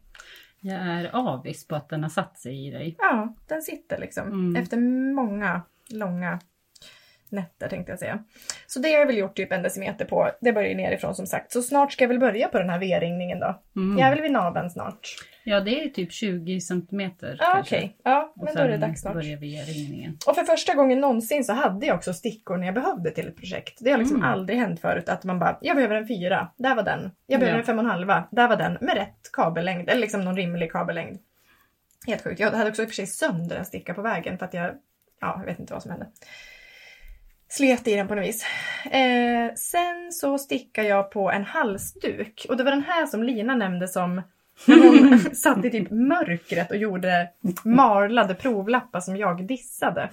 B: Jag är avis på att den har satt sig i dig.
A: Ja, den sitter liksom.
B: Mm.
A: Efter många långa nätter tänkte jag säga. Så det har jag väl gjort typ en decimeter på. Det börjar ju nerifrån som sagt. Så snart ska jag väl börja på den här V-ringningen då.
B: Mm.
A: Jag är väl vid naveln snart.
B: Ja, det är typ 20 centimeter
A: Ja,
B: kanske.
A: Ah, Okej, ja,
B: Och
A: men då är det
B: sen
A: dags snart.
B: börjar vi göra ringningen.
A: Och för första gången någonsin så hade jag också stickor när jag behövde till ett projekt. Det har liksom
B: Mm.
A: aldrig hänt förut att man bara, jag behöver en fyra, där var den. Jag behöver
B: Ja.
A: en fem och en halva, där var den. Med rätt kabellängd, eller liksom någon rimlig kabellängd. Helt sjukt. Jag hade också i och för sig sönder en sticka på vägen för att jag, ja, jag vet inte vad som hände. Slet i den på något vis. Eh, sen så stickade jag på en halsduk och det var den här som Lina nämnde som när hon satt i typ mörkret och gjorde marlade provlappar som jag dissade.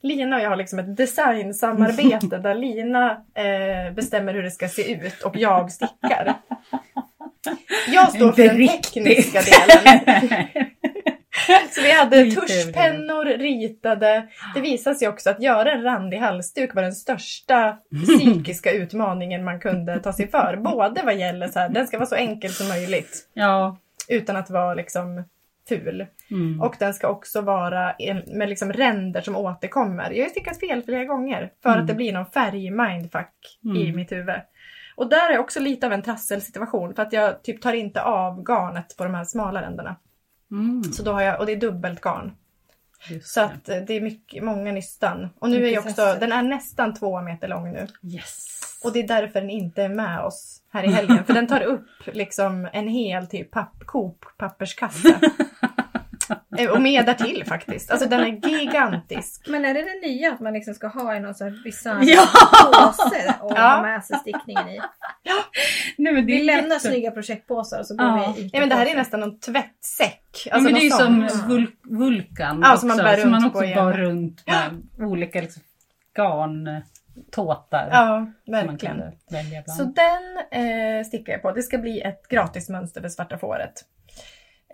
A: Lina och jag har liksom ett designsamarbete där Lina eh, bestämmer hur det ska se ut och jag stickar. Jag står för
B: Inte
A: den
B: riktigt.
A: tekniska delen. Så vi hade
B: Lite
A: tuschpennor ritade. Det visade sig också att göra en randig halsduk var den största psykiska utmaningen man kunde ta sig för. Både vad gäller så här, den ska vara så enkel som möjligt
B: ja.
A: utan att vara liksom ful.
B: Mm.
A: Och den ska också vara en- med liksom ränder som återkommer. Jag har ju stickat fel flera gånger för
B: Mm.
A: att det blir någon färg-mindfuck i
B: Mm.
A: mitt huvud. Och där är jag också lite av en trasselsituation för att jag typ tar inte av garnet på de här smala ränderna.
B: Mm.
A: Så då har jag, och det är dubbelt garn.
B: Just
A: Så
B: det.
A: att eh, det är mycket, många nystan. Och nu är
C: Mycket
A: jag också,
C: trassel.
A: den är nästan två meter lång nu.
B: Yes.
A: Och det är därför den inte är med oss här i helgen. För den tar upp liksom en hel typ papp, Coop papperskasse. Eh, Och mer därtill faktiskt. Alltså den är gigantisk.
C: Men är det det nya att man liksom ska ha i någon sån här bisarr
B: Ja!
C: påse och
A: Ja.
C: ha med sig stickningen i?
B: Nej, men det
C: Vi
B: är
C: lämnar
B: jätte-
A: liksom-
C: snygga projektpåsar och så går
B: Ja.
C: vi i
A: Ja, men det här är nästan någon tvättsäck.
B: Ja,
A: Alltså
B: men det är ju
A: någon sån.
B: som
C: sån.
B: vul- Vulkan
A: Ja,
B: också,
A: som man bär
B: som man
A: runt på
B: också
A: igen.
B: bar runt med olika liksom, garntåtar.
A: Ja,
B: som man
A: verkligen.
B: kunde välja bland.
A: Så den eh, stickar jag på. Det ska bli ett gratismönster för svarta fåret.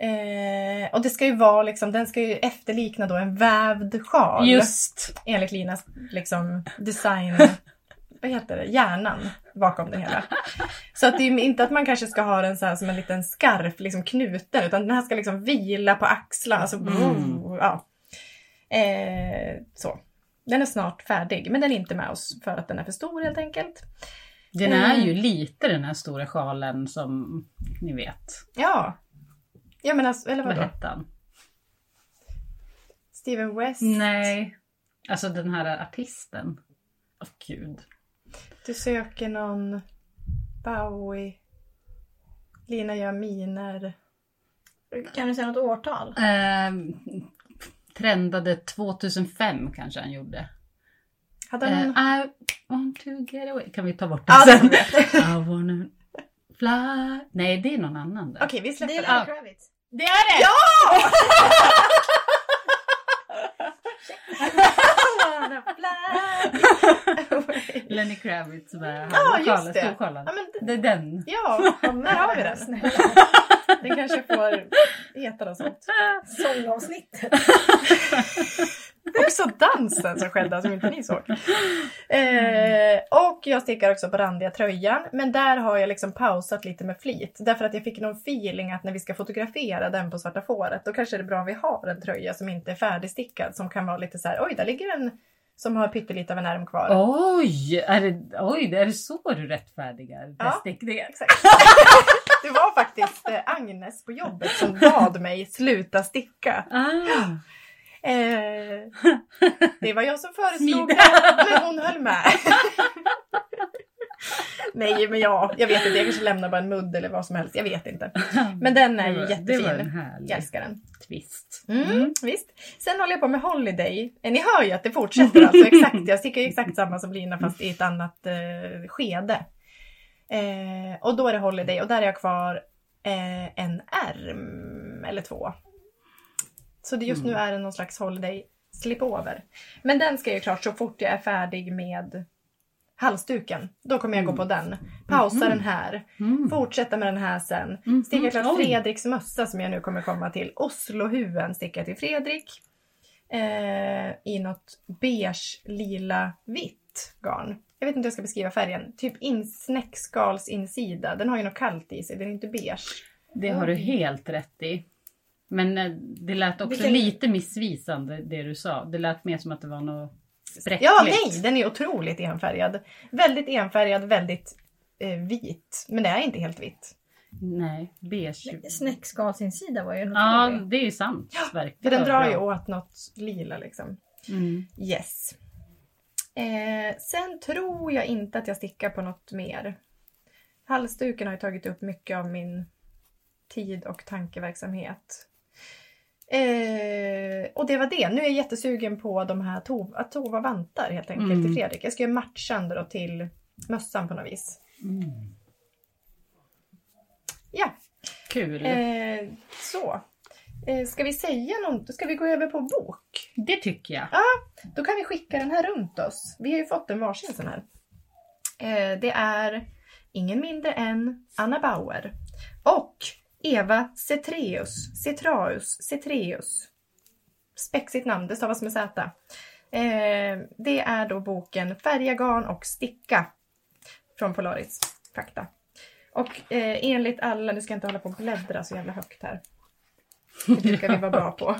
A: Eh, och det ska ju vara liksom, den ska ju efterlikna då en vävd sjal.
B: Just.
A: enligt Linas liksom, design, vad heter det, hjärnan bakom det hela. Så att det är ju inte att man kanske ska ha den så här som en liten skarf, liksom knuten, utan den här ska liksom vila på axlarna. Alltså,
B: Mm.
A: ja. eh, så. Den är snart färdig, men den är inte med oss för att den är för stor helt enkelt.
B: Den är
A: Mm.
B: ju lite den här stora sjalen som ni vet.
A: Ja. Ja men alltså, eller
B: Vad
A: vadå?
B: hette han?
A: Steven West?
B: Nej. Alltså den här artisten. Åh gud.
A: Du söker någon Bowie? Lina gör miner?
C: Kan du säga något årtal?
B: Ehm, trendade 2005 kanske han gjorde.
A: Hade han
B: Eh,
A: någon
B: I want to get away. Kan vi ta bort den
A: Ja, det
B: sen?
A: vet jag.
B: I wanna fly. Nej, det är någon annan där.
A: Okej, vi släpper
C: Det är
A: det.
C: Lenny Kravitz.
B: Det är det! Lenny Kravitz med
A: Ja,
B: han,
A: just
B: sjalen,
A: det.
B: storsjalen.
A: Ja, men, d-
B: Det är den.
A: ja, där har vi den.
C: Snälla.
A: Den kanske får heta något sånt.
C: Sångavsnittet.
A: Också dansen som skedde som inte ni såg. Eh, och jag stickar också på randiga tröjan. Men där har jag liksom pausat lite med flit. Därför att jag fick någon feeling att när vi ska fotografera den på Svarta Fåret då kanske det är bra om vi har en tröja som inte är färdigstickad. Som kan vara lite så här, oj där ligger en som har pyttelite av en ärm kvar.
B: Oj! Är det, oj, är det så du rättfärdigar
A: Ja.
B: bestickningar?
A: Exakt. Det var faktiskt eh, Agnes på jobbet som bad mig sluta sticka.
B: Ah,
A: Eh, det var jag som föreslog
B: Smida.
A: det, men hon höll med. Nej, men ja, jag vet inte. Jag kanske lämnar bara en mudd eller vad som helst. Jag vet inte. Men den är
B: Det
A: ju
B: var-
A: jättefin.
B: Det var en härlig
A: Jag älskar den.
B: twist.
A: Mm, Visst. Sen håller jag på med Holiday. Eh, Ni hör ju att det fortsätter alltså. Exakt. Jag sticker ju exakt samma som Lina fast i ett annat eh, skede. Eh, och då är det Holiday och där är jag kvar eh, en ärm eller två. Så det just nu är det någon slags Holiday slipover. Men den ska jag ju klart så fort jag är färdig med halsduken. Då kommer jag gå på den. Pausa den här.
B: Mm.
A: Fortsätta med den här sen.
B: Mhm.
A: Sticka klart
B: Oj.
A: Fredriks mössa som jag nu kommer komma till. Oslohuven stickar till Fredrik. Eh, I något beige, lila, vitt garn. Jag vet inte hur jag ska beskriva färgen. Typ in, snäckskals insida. Den har ju något kallt i sig. Den är inte beige.
B: Det har du helt rätt i. Men eh, det lät också
A: Vilken-
B: lite missvisande det du sa. Det lät mer som att det var något spräckligt.
A: Ja, nej! Den är otroligt enfärgad. Väldigt enfärgad, väldigt eh, vit. Men det är inte helt vitt.
B: Nej, beige.
C: Snäckskalsinsida var ju en
B: Ja,
C: otrolig.
B: det är ju sant. verkligen.
A: För den drar ju
B: Bra.
A: åt något lila liksom.
B: Mm.
A: Yes. Eh, sen tror jag inte att jag stickar på något mer. Halsduken har ju tagit upp mycket av min tid och tankeverksamhet. Eh, och det var det. Nu är jag jättesugen på de här tov- att tova vantar helt enkelt
B: Mm.
A: till Fredrik. Jag ska göra matchande då till mössan på något vis.
B: Mm.
A: Ja,
B: Kul.
A: eh, så. Eh, ska vi säga något? Ska vi gå över på bok?
B: Det tycker jag.
A: Då kan vi skicka den här runt oss. Vi har ju fått en varsin sån här. Eh, det är ingen mindre än Anna Bauer och Eva Cetreus, Cetraeus, Cetreus. Spexigt namn, det stavas med Z. Eh, det är då boken Färga garn och sticka från Polaris Fakta. Och eh, enligt alla, nu ska jag inte hålla på och bläddra så jävla högt här. Det brukar vi vara bra på.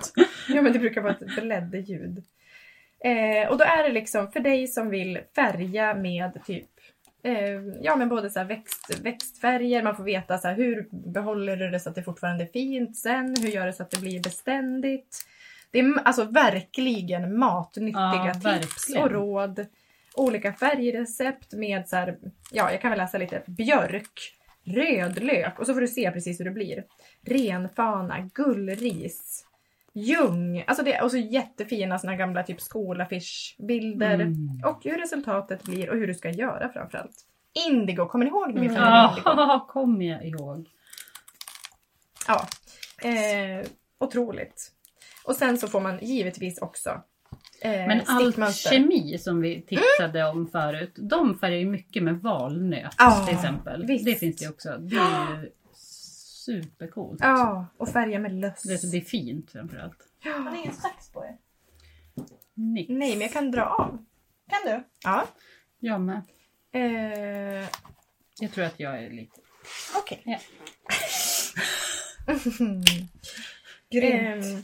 A: Ja men det brukar vara ett bläddljud. Eh, och då är det liksom för dig som vill färga med typ eh, Ja men både så här växt, växtfärger, man får veta så här, hur behåller du det så att det fortfarande är fint sen? Hur gör du så att det blir beständigt? Det är m- alltså verkligen matnyttiga
B: Ja,
A: tips
B: verkligen.
A: och råd. Olika färgrecept med så här, ja jag kan väl läsa lite, björk, rödlök och så får du se precis hur det blir. Renfana, gullris, ljung. Alltså det, och så jättefina såna gamla typ skolaffishbilder.
B: Mm.
A: Och hur resultatet blir och hur du ska göra framförallt. Indigo, kommer ni ihåg min
C: Mm.
A: favorit indigo?
B: Ja, kommer jag ihåg.
A: Eh, Ja. Eh, otroligt. Och sen så får man givetvis också eh,
B: Men all
A: stickmönster. Mm.
B: kemi som vi tipsade om förut, de färgar ju mycket med valnöt
A: Ja,
B: till exempel.
A: visst.
B: Det finns det ju också. Det är ju supercoolt.
A: Ja, och färga med löss.
B: Det det är fint framförallt.
C: Har ni ingen sax på er?
B: Nix.
A: Nej, men jag kan dra av.
C: Kan du?
A: Ja.
B: Jag med.
A: Eh,
B: Jag tror att jag är lite...
A: Okej.
B: Ja.
C: Eh,
A: Grymt. Ehm,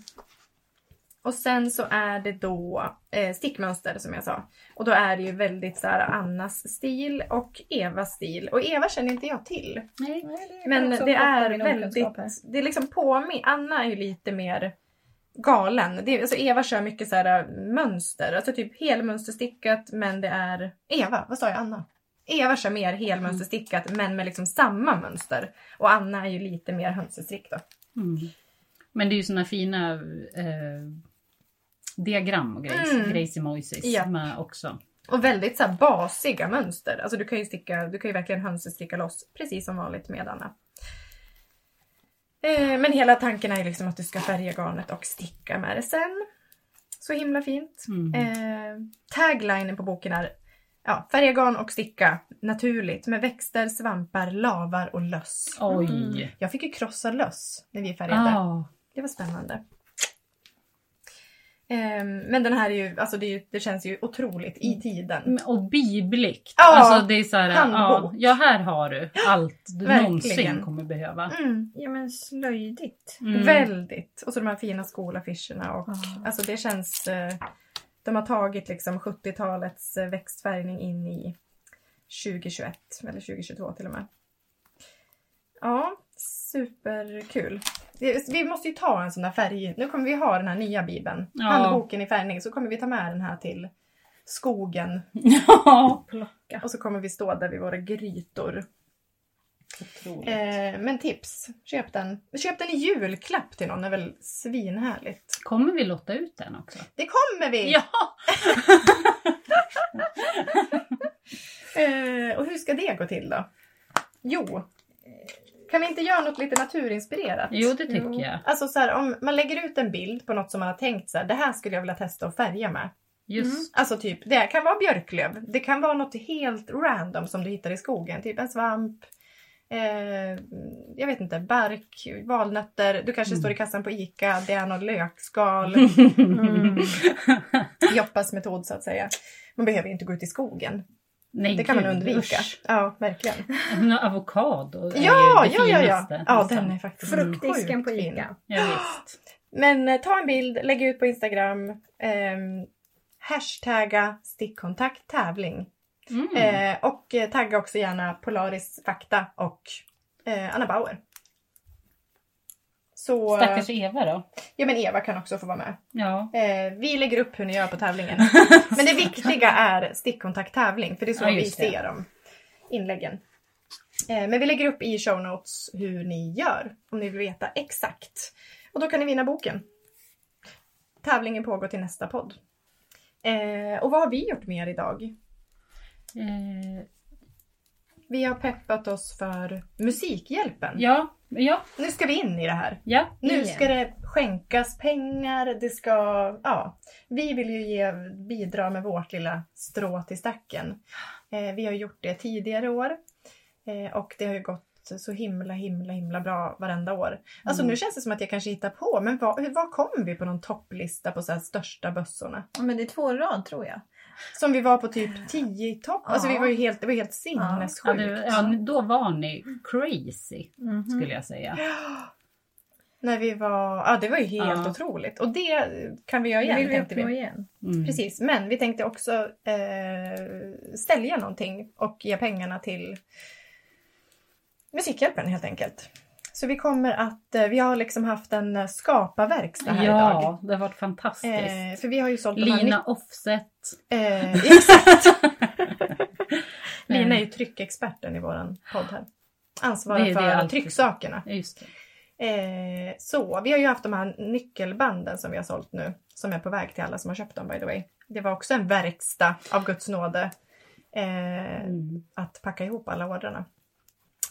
A: och sen så är det då eh, stickmönster som jag sa. Och då är det ju väldigt så här Annas stil och Evas stil. Och Eva känner inte jag till.
B: Nej.
A: Men det är väldigt, det är liksom påminn, Anna är ju lite mer galen. Det är, alltså Eva kör mycket så här mönster, alltså typ helmönsterstickat men det är, Eva, vad sa jag Anna? Eva kör mer helmönsterstickat men med liksom samma mönster. Och Anna är ju lite mer hönsestrick då.
B: Mm. Men det är ju såna fina eh, diagram och grejs,
A: Mm.
B: grejs emojis
A: Ja.
B: med också.
A: Och väldigt så här basiga mönster. Alltså du kan ju sticka, du kan ju verkligen hönsesticka loss precis som vanligt med Anna. Eh, men hela tanken är ju liksom att du ska färga garnet och sticka med det sen. Så himla fint.
B: Mm.
A: Eh, taglinen på boken är ja, färga garn och sticka naturligt med växter, svampar, lavar och löss.
B: Oj!
A: Mm. Jag fick ju krossa löss när vi färgade.
B: Ah.
A: Det var spännande. Ehm, men den här är ju, alltså det, är ju, det känns ju otroligt i tiden.
B: Mm, Och bibligt.
A: Ja,
B: alltså det är så här, ja,
A: handbok.
B: ja, här har du allt du
A: Verkligen.
B: någonsin kommer behöva.
A: Mm,
C: Ja men slöjdigt.
B: Mm.
A: Väldigt. Och så de här fina skolaffischerna. Och,
C: Ja.
A: Alltså det känns... eh, De har tagit liksom 70-talets eh, växtfärgning in i 2021 eller 2022 till och med. Ja, superkul. Det- Vi måste ju ta en sån där färg. Nu kommer vi ha den här nya bibeln.
B: Ja.
A: Handboken i färgning. Så kommer vi ta med den här till skogen
B: Ja,
C: Plocka.
A: och så kommer vi stå där vid våra grytor.
B: otroligt.
A: Eh, men tips, köp den. Köp den i julklapp till någon, det är väl svinhärligt.
B: Kommer vi lotta ut den också?
A: Det kommer vi!
B: Ja!
A: Eh, och hur ska det gå till då? Jo, kan vi inte göra något lite naturinspirerat?
B: Jo, det tycker
C: Jo.
B: jag.
A: Alltså så här, om man lägger ut en bild på något som man har tänkt så här, det här skulle jag vilja testa att färga med.
B: Just
A: Alltså typ, det kan vara björklöv. Det kan vara något helt random som du hittar i skogen. Typ en svamp. Eh, jag vet inte, bark, valnötter. Du kanske
B: Mm.
A: står i kassan på ICA. Det är något lökskal.
C: Mm.
A: Joppas metod så att säga. Man behöver ju inte gå ut i skogen.
B: Nej,
A: Det kan man
B: gud,
A: undvika.
B: usch.
A: Ja, verkligen.
B: Men Avokado är
A: Ja,
B: ju det
A: ja, ja, ja.
B: finaste, Alltså,
A: Ja,
B: nästan.
A: den är faktiskt
C: Fruktdisken
A: sjukt
C: på
A: fin.
C: Ica.
B: Ja, visst.
A: Men eh, ta en bild, lägg ut på Instagram. ehm, hashtagga stickkontakt tävling.
B: Mm.
A: Eh, och eh, tagga också gärna Polaris Fakta och eh, Anna Bauer. Så,
B: Stackars Eva då.
A: ja men Eva kan också få vara med.
B: Ja,
A: Eh, vi lägger upp hur ni gör på tävlingen. men det viktiga är stickkontakttävling för det är så
B: Ja,
A: vi
B: just det.
A: ser dem. Inläggen. Eh, men vi lägger upp i show notes hur ni gör om ni vill veta exakt. Och då kan ni vinna boken. Tävlingen pågår till nästa podd. Eh, och vad har vi gjort mer idag?
B: eh,
A: Vi har peppat oss för Musikhjälpen.
B: ja, ja,
A: Nu ska vi in i det här.
B: ja.
A: Nu
C: Igen.
A: ska det skänkas pengar, det ska... Ja. Vi vill ju ge, bidra med vårt lilla strå till stacken. Eh, vi har gjort det tidigare år. Eh, och det har ju gått så himla, himla, himla bra varenda år. Alltså
B: Mm.
A: nu känns det som att jag kanske hittar på, men vad, hur- vad kom vi på någon topplista på så här största bössorna?
C: Ja, men det är två i rad tror jag.
A: Som vi var på typ 10 i topp. Alltså vi var ju helt, det var helt sinnessjukt.
B: Ja, du, ja, då var ni crazy
C: Mhm.
B: skulle jag säga.
A: Mm. När vi var, ja det var ju helt
B: Ja.
A: otroligt. Och det kan vi göra
C: Det
A: igen
C: vill vi
A: tänkte vi.
C: uppnå igen.
B: Mm.
A: Precis, men vi tänkte också eh, sälja någonting och ge pengarna till Musikhjälpen helt enkelt. Så vi kommer att, eh, vi har liksom haft en eh, skapa-verkstad här idag.
B: Ja, det har varit fantastiskt.
A: Eh, för vi har ju sålt de här...
B: Lina Offset.
A: ni- Eh, exakt! Lina är ju tryckexperten i våran podd här.
B: Det
A: Ansvarig
B: är det
A: för
B: alltid.
A: trycksakerna.
B: Ja, Just det.
A: Eh, så, vi har ju haft de här nyckelbanden som vi har sålt nu. Som är på väg till alla som har köpt dem by the way. Det var också en verkstad av Guds nåde. Eh,
B: Mm.
A: Att packa ihop alla ordrarna.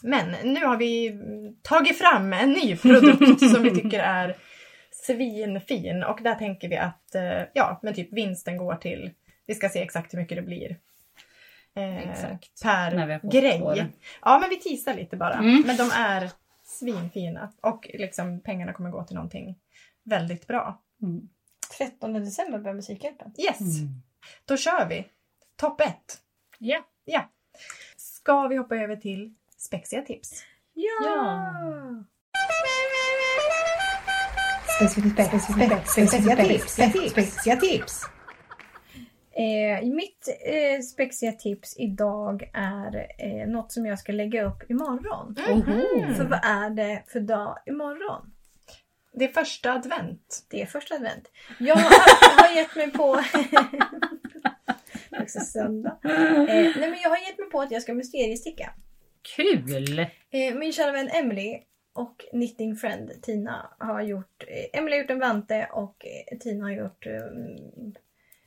A: Men nu har vi mm, tagit fram en ny produkt som vi tycker är svinfin. Och där tänker vi att eh, ja, men typ vinsten går till, vi ska se exakt hur mycket det blir. eh,
B: Exakt. När vi
A: Per
B: har fått
A: grej.
B: våren.
A: Ja men vi teasar lite bara.
B: Mm.
A: Men de är svinfina. Och liksom pengarna kommer gå till någonting väldigt bra.
B: Mm.
C: 13 december börjar Musikhjälpen.
A: Yes!
B: Mm.
A: Då kör vi! Topp 1!
B: Ja.
A: Ja. Ska vi hoppa över till spexiga tips?
C: Ja!
B: Ja.
C: Eh, mitt eh, spexiga tips idag är eh, något som jag ska lägga upp imorgon.
A: Mm-hmm.
B: Oho.
C: För vad är det för dag imorgon?
A: Det är första advent.
C: Det är första advent. Jag har, har gett mig på... Det är också söndag. Eh, nej men jag har gett mig på att jag ska mysteriesticka.
B: Kul!
C: Eh, min kära vän Emily och knitting friend Tina har gjort... Eh, Emily har gjort en vante och eh, Tina har gjort eh,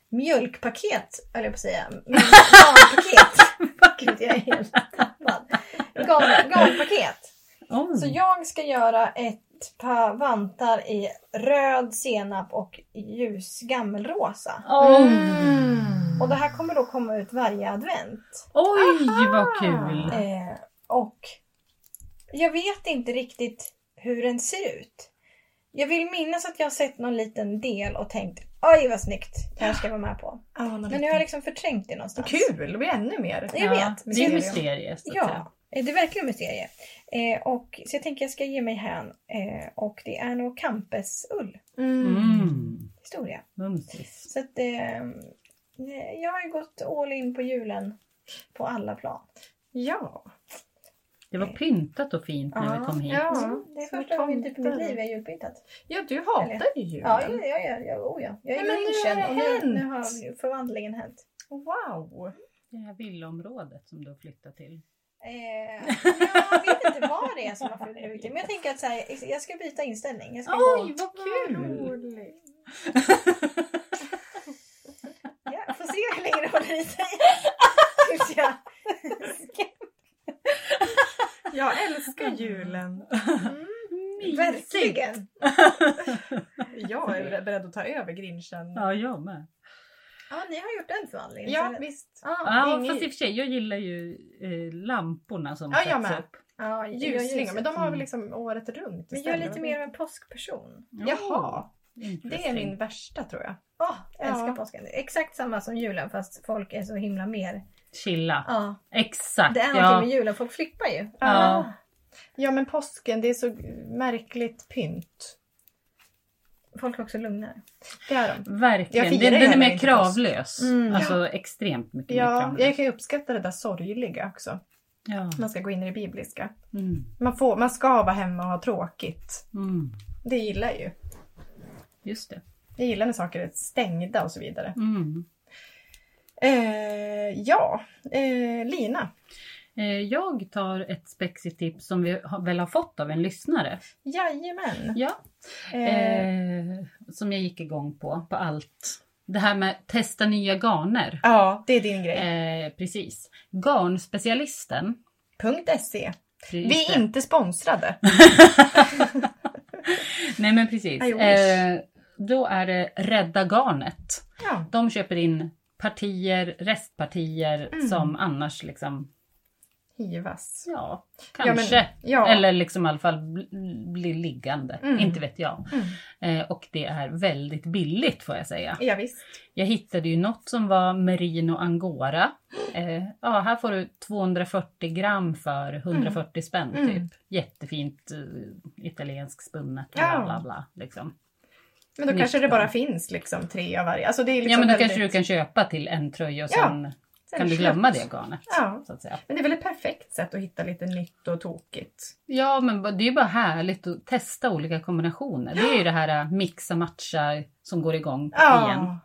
C: mjölkpaket, höll jag på att säga. Men Garnpaket. Gud, jag är helt tappad. Garn, garnpaket.
B: Oj.
A: Mm.
C: Så jag ska göra ett par vantar i röd senap och ljus gammelrosa.
B: Oj.
A: Mm.
C: Och det här kommer då komma ut varje advent.
B: Oj, vad
A: Aha.
B: kul!
C: Eh, och jag vet inte riktigt hur den ser ut. Jag vill minnas att jag har sett någon liten del och tänkt oj vad snyggt, det här ska jag vara med på.
A: Ja, någon
C: Men nu har jag liksom förträngt det någonstans.
A: Kul! Det blir ännu mer.
C: Jag vet.
B: Det är mysteriet.
C: Ja, eh, det är verkligen mysterie. Eh, och, så jag tänker jag ska ge mig hän eh, och det är nog campesull
B: Mm.
C: historia.
B: Mumsis.
C: Så att eh, jag har ju gått all in på julen på alla plan.
A: Ja.
B: Det var pyntat och fint när vi
C: Ja,
B: kom hit.
A: ja.
C: Mm, det är
A: små
C: första gången typ i mitt
A: tomtar.
C: liv jag har julpyntat.
A: ja, du hatar ju julen.
C: Ja, ja, ja, ja, ja, oh, ja. Jag är
A: Nej, men nu har
C: grinchen
A: det
C: och nu, nu
A: hänt.
C: har ju förvandlingen hänt.
A: Wow!
B: Det här villaområdet som du har flyttat till.
C: Eh, jag vet inte vad det är som har flutit ut. Men jag tänker att så här, jag ska byta inställning. Jag ska gå.
B: vad
A: roligt!
C: Ja, får se hur länge det håller i sig. Tills jag...
A: Jag älskar julen!
C: Verkligen!
A: Jag är beredd att ta över grinchen.
B: Ja, jag med.
C: Ja, ni har gjort en förvandling.
A: Ja,
C: Så-
A: visst.
C: ja,
B: Ja,
A: Inge-
B: fast i och för sig, jag gillar ju eh, lamporna som
A: Ja, jag
B: sätts
A: med.
B: upp.
C: ja, jag gör
A: Ljusslingor,
C: ljuset.
A: men de har väl
B: Mm.
A: liksom året runt
C: Men jag är
A: istället.
C: lite mer av en påskperson.
A: Jaha, det är
B: Interesting.
A: min värsta tror jag.
C: Åh, jag älskar
A: Ja.
C: påsken. Det är Exakt samma som julen fast folk är så himla mer.
B: Chilla.
C: Ja,
B: Exakt.
C: det är någonting
B: ja.
C: med Ah. julen. Folk flippar ju.
B: Ja.
A: Ja men påsken, det är så märkligt pynt.
C: Folk är också lugnare.
A: Det är de.
B: Verkligen.
A: Jag
B: Den,
A: firar
B: den är
A: heller
B: mer
A: inte
B: kravlös.
C: Mm.
B: Alltså extremt mycket mer
A: Ja,
B: kravlös.
A: jag kan ju uppskatta det där sorgliga också.
B: Ja.
A: Man ska gå in i det bibliska.
B: Mm.
A: Man, får, man ska vara hemma och ha tråkigt.
B: Mm.
A: Det gillar jag ju.
B: Just det.
A: Jag gillar när saker är stängda och så vidare.
B: Mm.
A: Eh, ja, eh, Lina.
B: Eh, Jag tar ett spexigt tips som vi har- väl har fått av en lyssnare.
A: Jajamän.
B: Ja.
A: Eh,
B: Eh, som jag gick igång på, på allt. Det här med testa nya garner.
A: ja, det är din grej.
B: Eh, precis. Garnspecialisten.
A: Punkt .se. Vi
B: Just det.
A: är inte sponsrade.
B: Nej men precis.
A: I wish.
B: Eh, då är det Rädda Garnet.
A: Ja.
B: De köper in partier, restpartier
A: Mm.
B: som annars liksom,
A: Hivas.
B: ja,
A: men-
B: kanske.
A: Ja.
B: Eller liksom i alla fall bl- blir liggande,
A: Mm.
B: inte vet jag.
A: Mm.
B: Eh, och det är väldigt billigt får jag säga.
A: Ja, visst.
B: Jag hittade ju något som var merino angora. Eh, ja, här får du 240 gram för 140 spänn
A: Mm.
B: typ. Jättefint eh, italiensk spunnet och
A: Ja.
B: bla bla bla. Liksom.
A: Men då
B: Nytt
A: kanske det bara
B: garn.
A: finns liksom tre av varje. Alltså det är liksom
B: ja men då
A: väldigt-
B: kanske du kan köpa till en tröja och
A: Ja,
B: sen
A: sen
B: kan
A: är
B: du
A: det
B: glömma
A: slut.
B: det garnet.
A: Ja.
B: Så att säga.
A: Men det är väl ett perfekt sätt att hitta lite nytt och tokigt.
B: Ja men det är ju bara härligt att testa olika kombinationer. Det är ju det här eh, mixa matcha som går igång igen.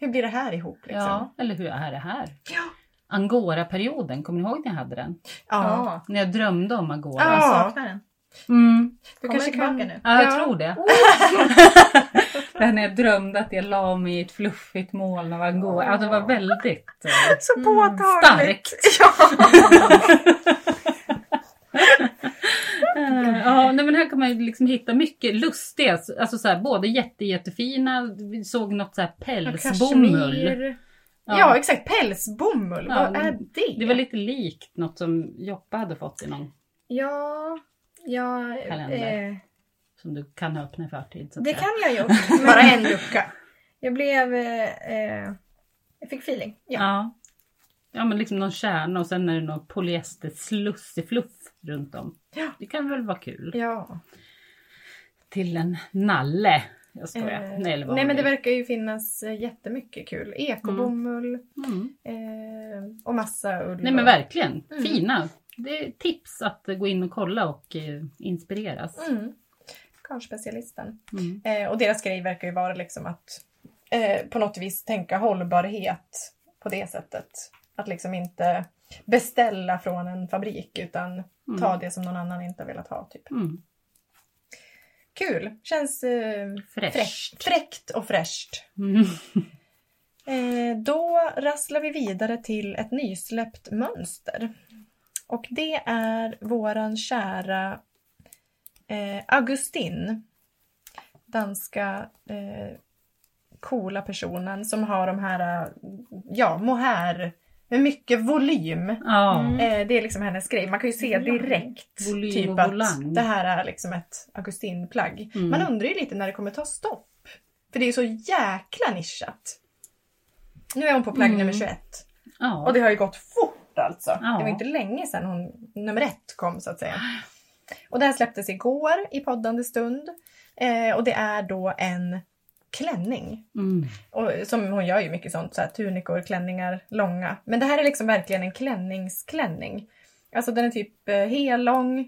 A: Hur blir det här ihop liksom?
B: Ja, eller hur är det här?
A: Ja.
B: Angora-perioden, kommer ni ihåg när jag hade den?
A: ja.
B: När jag drömde om agora.
A: Ja.
C: Jag saknar den.
B: Mm.
A: Du
C: Kommer
A: kanske
C: tillbaka
A: kan...
C: nu.
B: Ja, jag
A: Ja. Oh.
B: tror det. det här när jag drömde att jag la mig i ett fluffigt moln av angora. Ja, det
A: Ah.
B: var väldigt eh,
A: Så påtagligt!
B: starkt.
A: Ja.
B: Eh, Ja, nej, men här kan man ju liksom hitta mycket lustiga, alltså så här, både jätte, jättefina, vi såg något så här pälsbomull.
A: Kashmir.
B: Ja.
A: Ja. exakt, pälsbomull.
B: Ja,
A: Vad
B: men
A: är det?
B: Det var lite likt något som Joppa hade fått i någon
C: Ja, ja
B: Kalender.
C: eh,
B: som du kan öppna i förtid. Så att
C: det
B: säga.
C: kan jag ha gjort.
A: Bara
C: Men
A: en lucka.
C: jag blev... Eh, eh, jag fick feeling. Ja.
B: ja. ja, men liksom någon kärna och sen är det någon polyester slussig fluff runt om.
A: Ja.
B: Det kan väl vara kul.
A: Ja.
B: till en nalle. Jag skojar.
A: Eh,
B: nej, eller vad
A: Nej men
B: man
A: det
B: vill.
A: verkar ju finnas eh, jättemycket kul. Ekobomull
B: mm.
A: eh, och massa ull.
B: nej men
A: och-
B: verkligen.
A: Mm.
B: Fina. Det är tips att gå in och kolla och eh, inspireras.
A: Mm. Garnspecialisten.
B: Mm.
A: Eh, och deras grej verkar ju vara liksom att eh, på något vis tänka hållbarhet på det sättet. Att liksom inte beställa från en fabrik utan
B: Mm.
A: ta det som någon annan inte har velat ha. Typ.
B: Mm.
A: Kul! Känns eh,
B: Fräscht.
A: fräscht. fräckt och fräscht.
B: Mm.
A: Eh, då rasslar vi vidare till ett nysläppt mönster. Och det är våran kära eh, Augustin. Danska eh, coola personen som har de här, eh, ja, mohair med mycket volym.
B: Ja.
C: Mm.
A: Eh, det är liksom hennes grej. Man kan ju se
B: Volang.
A: direkt
B: Volym
A: typ
B: och volang.
A: att det här är liksom ett Augustin-plagg.
B: Mm.
A: Man undrar ju lite när det kommer ta stopp. För det är ju så jäkla nischat. Nu är hon på plagg
B: Mm.
A: nummer 21.
B: Ja.
A: Och det har ju gått fort alltså.
B: Ja.
A: Det var inte länge sedan hon, nummer ett kom så att säga. Och det här släpptes igår i poddande stund. Eh, och det är då en klänning.
B: Mm.
A: Och, som hon gör ju mycket sånt, så här, tunikor, klänningar, långa. Men det här är liksom verkligen en klänningsklänning. Alltså den är typ eh, hellång,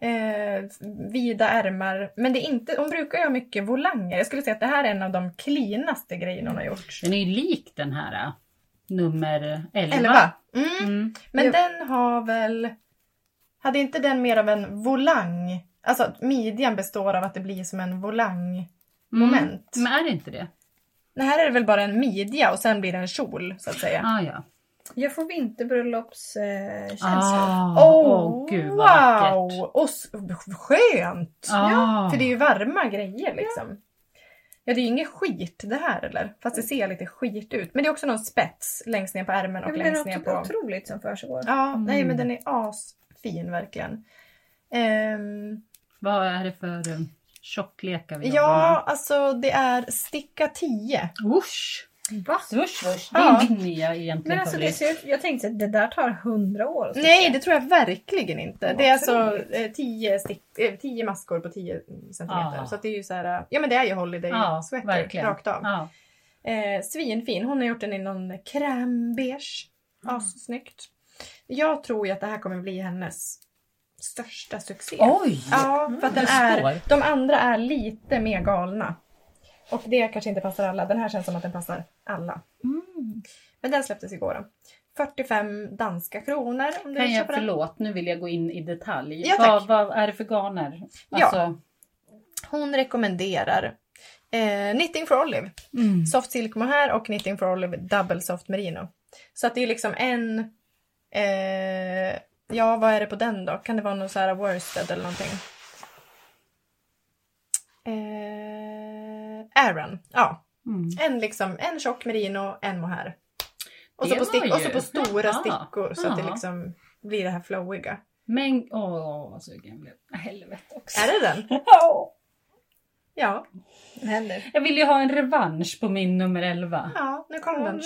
A: eh, vida ärmar. Men det är inte, hon brukar ju ha mycket volanger. Jag skulle säga att det här är en av de cleanaste grejerna hon har gjort.
B: Den är ju lik den här äh, nummer 11.
A: Elva. Mm.
B: Mm.
A: Men
C: Jo.
A: den har väl... Hade inte den mer av en volang? Alltså att midjan består av att det blir som en volang. Moment.
B: Mm. Men är det inte det?
A: Det här är det väl bara en midja och sen blir det en kjol så att säga.
B: Ah, ja.
C: Jag får vinterbröllopskänslor. Eh, känslor.
B: Ah,
A: Åh,
B: åh, gud vad vackert.
A: wow! Och s- skönt!
B: Ah.
A: För det är ju varma grejer liksom. Ja, det är ju inget skit det här eller? Fast det ser lite skit ut. Men det är också någon spets längst ner på ärmen
C: Ja,
A: och
C: men det är
A: längst ner
C: något
A: på...
C: typ
A: Ah,
C: otroligt som försiggår.
A: Ja, nej
B: Mm.
A: men den är asfin verkligen. Ehm,
B: Vad är det för um, tjocklekar vi jobbar med?
A: ja, alltså det är sticka 10.
B: Usch!
C: Va?
B: Svusch, svusch. Det
A: Ja.
B: är min nya egentligen
C: Men alltså det
B: favorit.
C: ser, jag tänkte att det där tar hundra år. att sticka.
A: Nej, det tror jag verkligen inte. Det är alltså
C: Otroligt.
A: 10 tio maskor på 10 centimeter.
B: Ja.
A: Så att det är ju så här, ja men det är ju Holiday
B: Ja,
A: Sweater
B: verkligen.
A: rakt av.
B: Ja.
A: Eh, svinfin. Hon har gjort den i någon crème beige.
B: Mm.
A: Assnyggt. Jag tror ju att det här kommer bli hennes största succé.
B: Oj!
A: Ja, för att den
B: det
A: är,
B: står.
A: de andra är lite mer galna. Och det kanske inte passar alla. Den här känns som att den passar alla.
B: Mm.
A: Men den släpptes igår. då. 45 danska kronor om du
B: Kan
A: vill
B: jag,
A: köpa den.
B: förlåt, nu vill jag gå in i detalj.
A: Ja,
B: vad,
A: tack.
B: vad är det för garner?
A: Ja.
B: Alltså,
A: Hon rekommenderar eh, Knitting for Olive.
B: mm.
A: Soft Silk Mohair och Knitting for Olive Double Soft Merino. Så att det är liksom en... Eh, ja, vad är det på den då? Kan det vara någon så här worsted eller någonting? Eh, Aaron. Ja,
B: Mm.
A: en liksom en tjock merino, en mohair. Och så,
B: Det
A: på
B: var
A: stick, och så
B: ju-
A: på stora
B: Jaha.
A: stickor så att det
B: Ja.
A: liksom blir det här flowiga.
B: Men, åh vad sugen jag blev. Helvete också.
A: Är det den?
B: Ja.
A: Ja,
C: Det händer.
B: Jag vill ju ha en revansch på min nummer 11.
A: ja nu kom
C: Ja,
A: den.
C: nu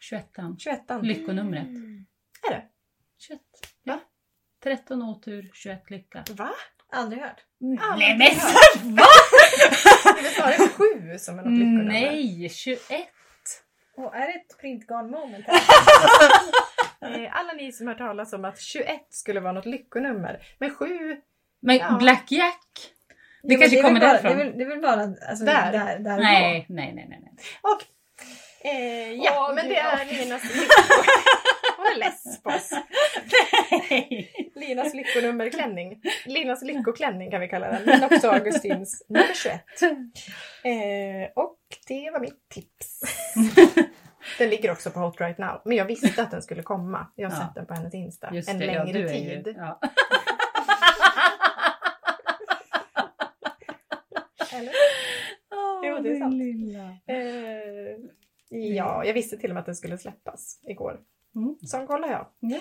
A: 21.
C: kom
B: 21.
A: 21
B: Lyckonumret.
A: är det.
B: 21.
A: Va?
B: 13 otur, 21 lycka.
A: Va?
C: Aldrig hört.
A: Ah,
B: Nej men
A: Ja.
B: så- va?
A: Det är väl snarare 7 som är något lyckonummer?
B: Nej, 21.
C: Och är det ett printgarn moment?
A: Eh, Alla ni som har hört talas om att 21 skulle vara något lyckonummer. Men 7,
B: Men
A: Ja.
B: Black Jack? Det
C: Jo, men
B: kanske
C: är väl
B: kommer
C: bara,
B: därifrån.
C: Det är väl, det är väl bara alltså,
A: Där.
C: där. där, där
B: Nej, nej, nej, nej. nej.
A: och... Eh, ja,
B: Åh,
A: men
B: gud,
A: det
B: vad
A: är Linas lycko- Hon är less på oss. Linas lyckonummerklänning. Linas lyckoklänning kan vi kalla den. Men också Augustins nummer 21. Eh, och det var mitt tips. Den ligger också på Hot Right Now. Men jag visste att den skulle komma. Jag har
B: Ja.
A: sett den på hennes Insta
B: Just
A: en
B: det, ja,
A: längre
B: du är
A: tid.
B: Ju, ja.
A: Eller?
B: Åh,
A: Jo, det är
B: min
A: sant.
B: Lilla.
A: Eh, ja, jag visste till och med att den skulle släppas igår.
B: Mm.
A: Så kollar jag.
B: Ja.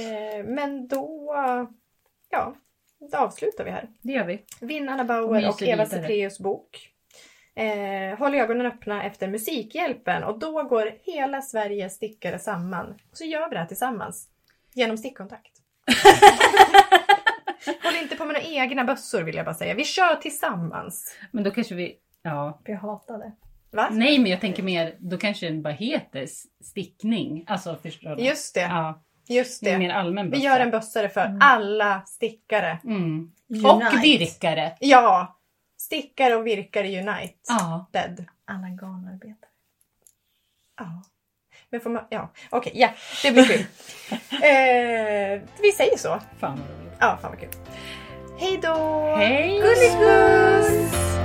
A: Eh, men då, ja, då avslutar vi här.
B: Det gör vi.
A: Vinnarna
B: Och
A: Bauer
B: myser
A: och Eva
B: vidare.
A: Cetrius bok. Eh, håll ögonen öppna efter Musikhjälpen och då går hela Sverige stickare samman. Så gör vi det här tillsammans. Genom stickkontakt. håll inte på med några egna bössor vill jag bara säga. Vi kör tillsammans.
B: Men då kanske vi... Ja.
C: Jag hatar det.
A: Va?
B: Nej, men jag tänker mer, då kanske den bara heter s- stickning. Alltså, förstår du?
A: Just det,
B: Ja,
A: just
B: det är
A: det.
B: mer allmän
A: Vi
B: bössa.
A: gör en bössare för alla stickare.
B: mm.
C: Unite.
B: Och virkare.
A: Ja! Stickare och virkare United.
B: Ja.
C: Alla garnarbetare.
A: Ja. Men får man... Ja, okej. ja, det blir kul. eh, vi säger så.
B: Fan vad roligt.
A: Ja, fan vad kul. Hej då!
B: Hej!
A: Gullig guss!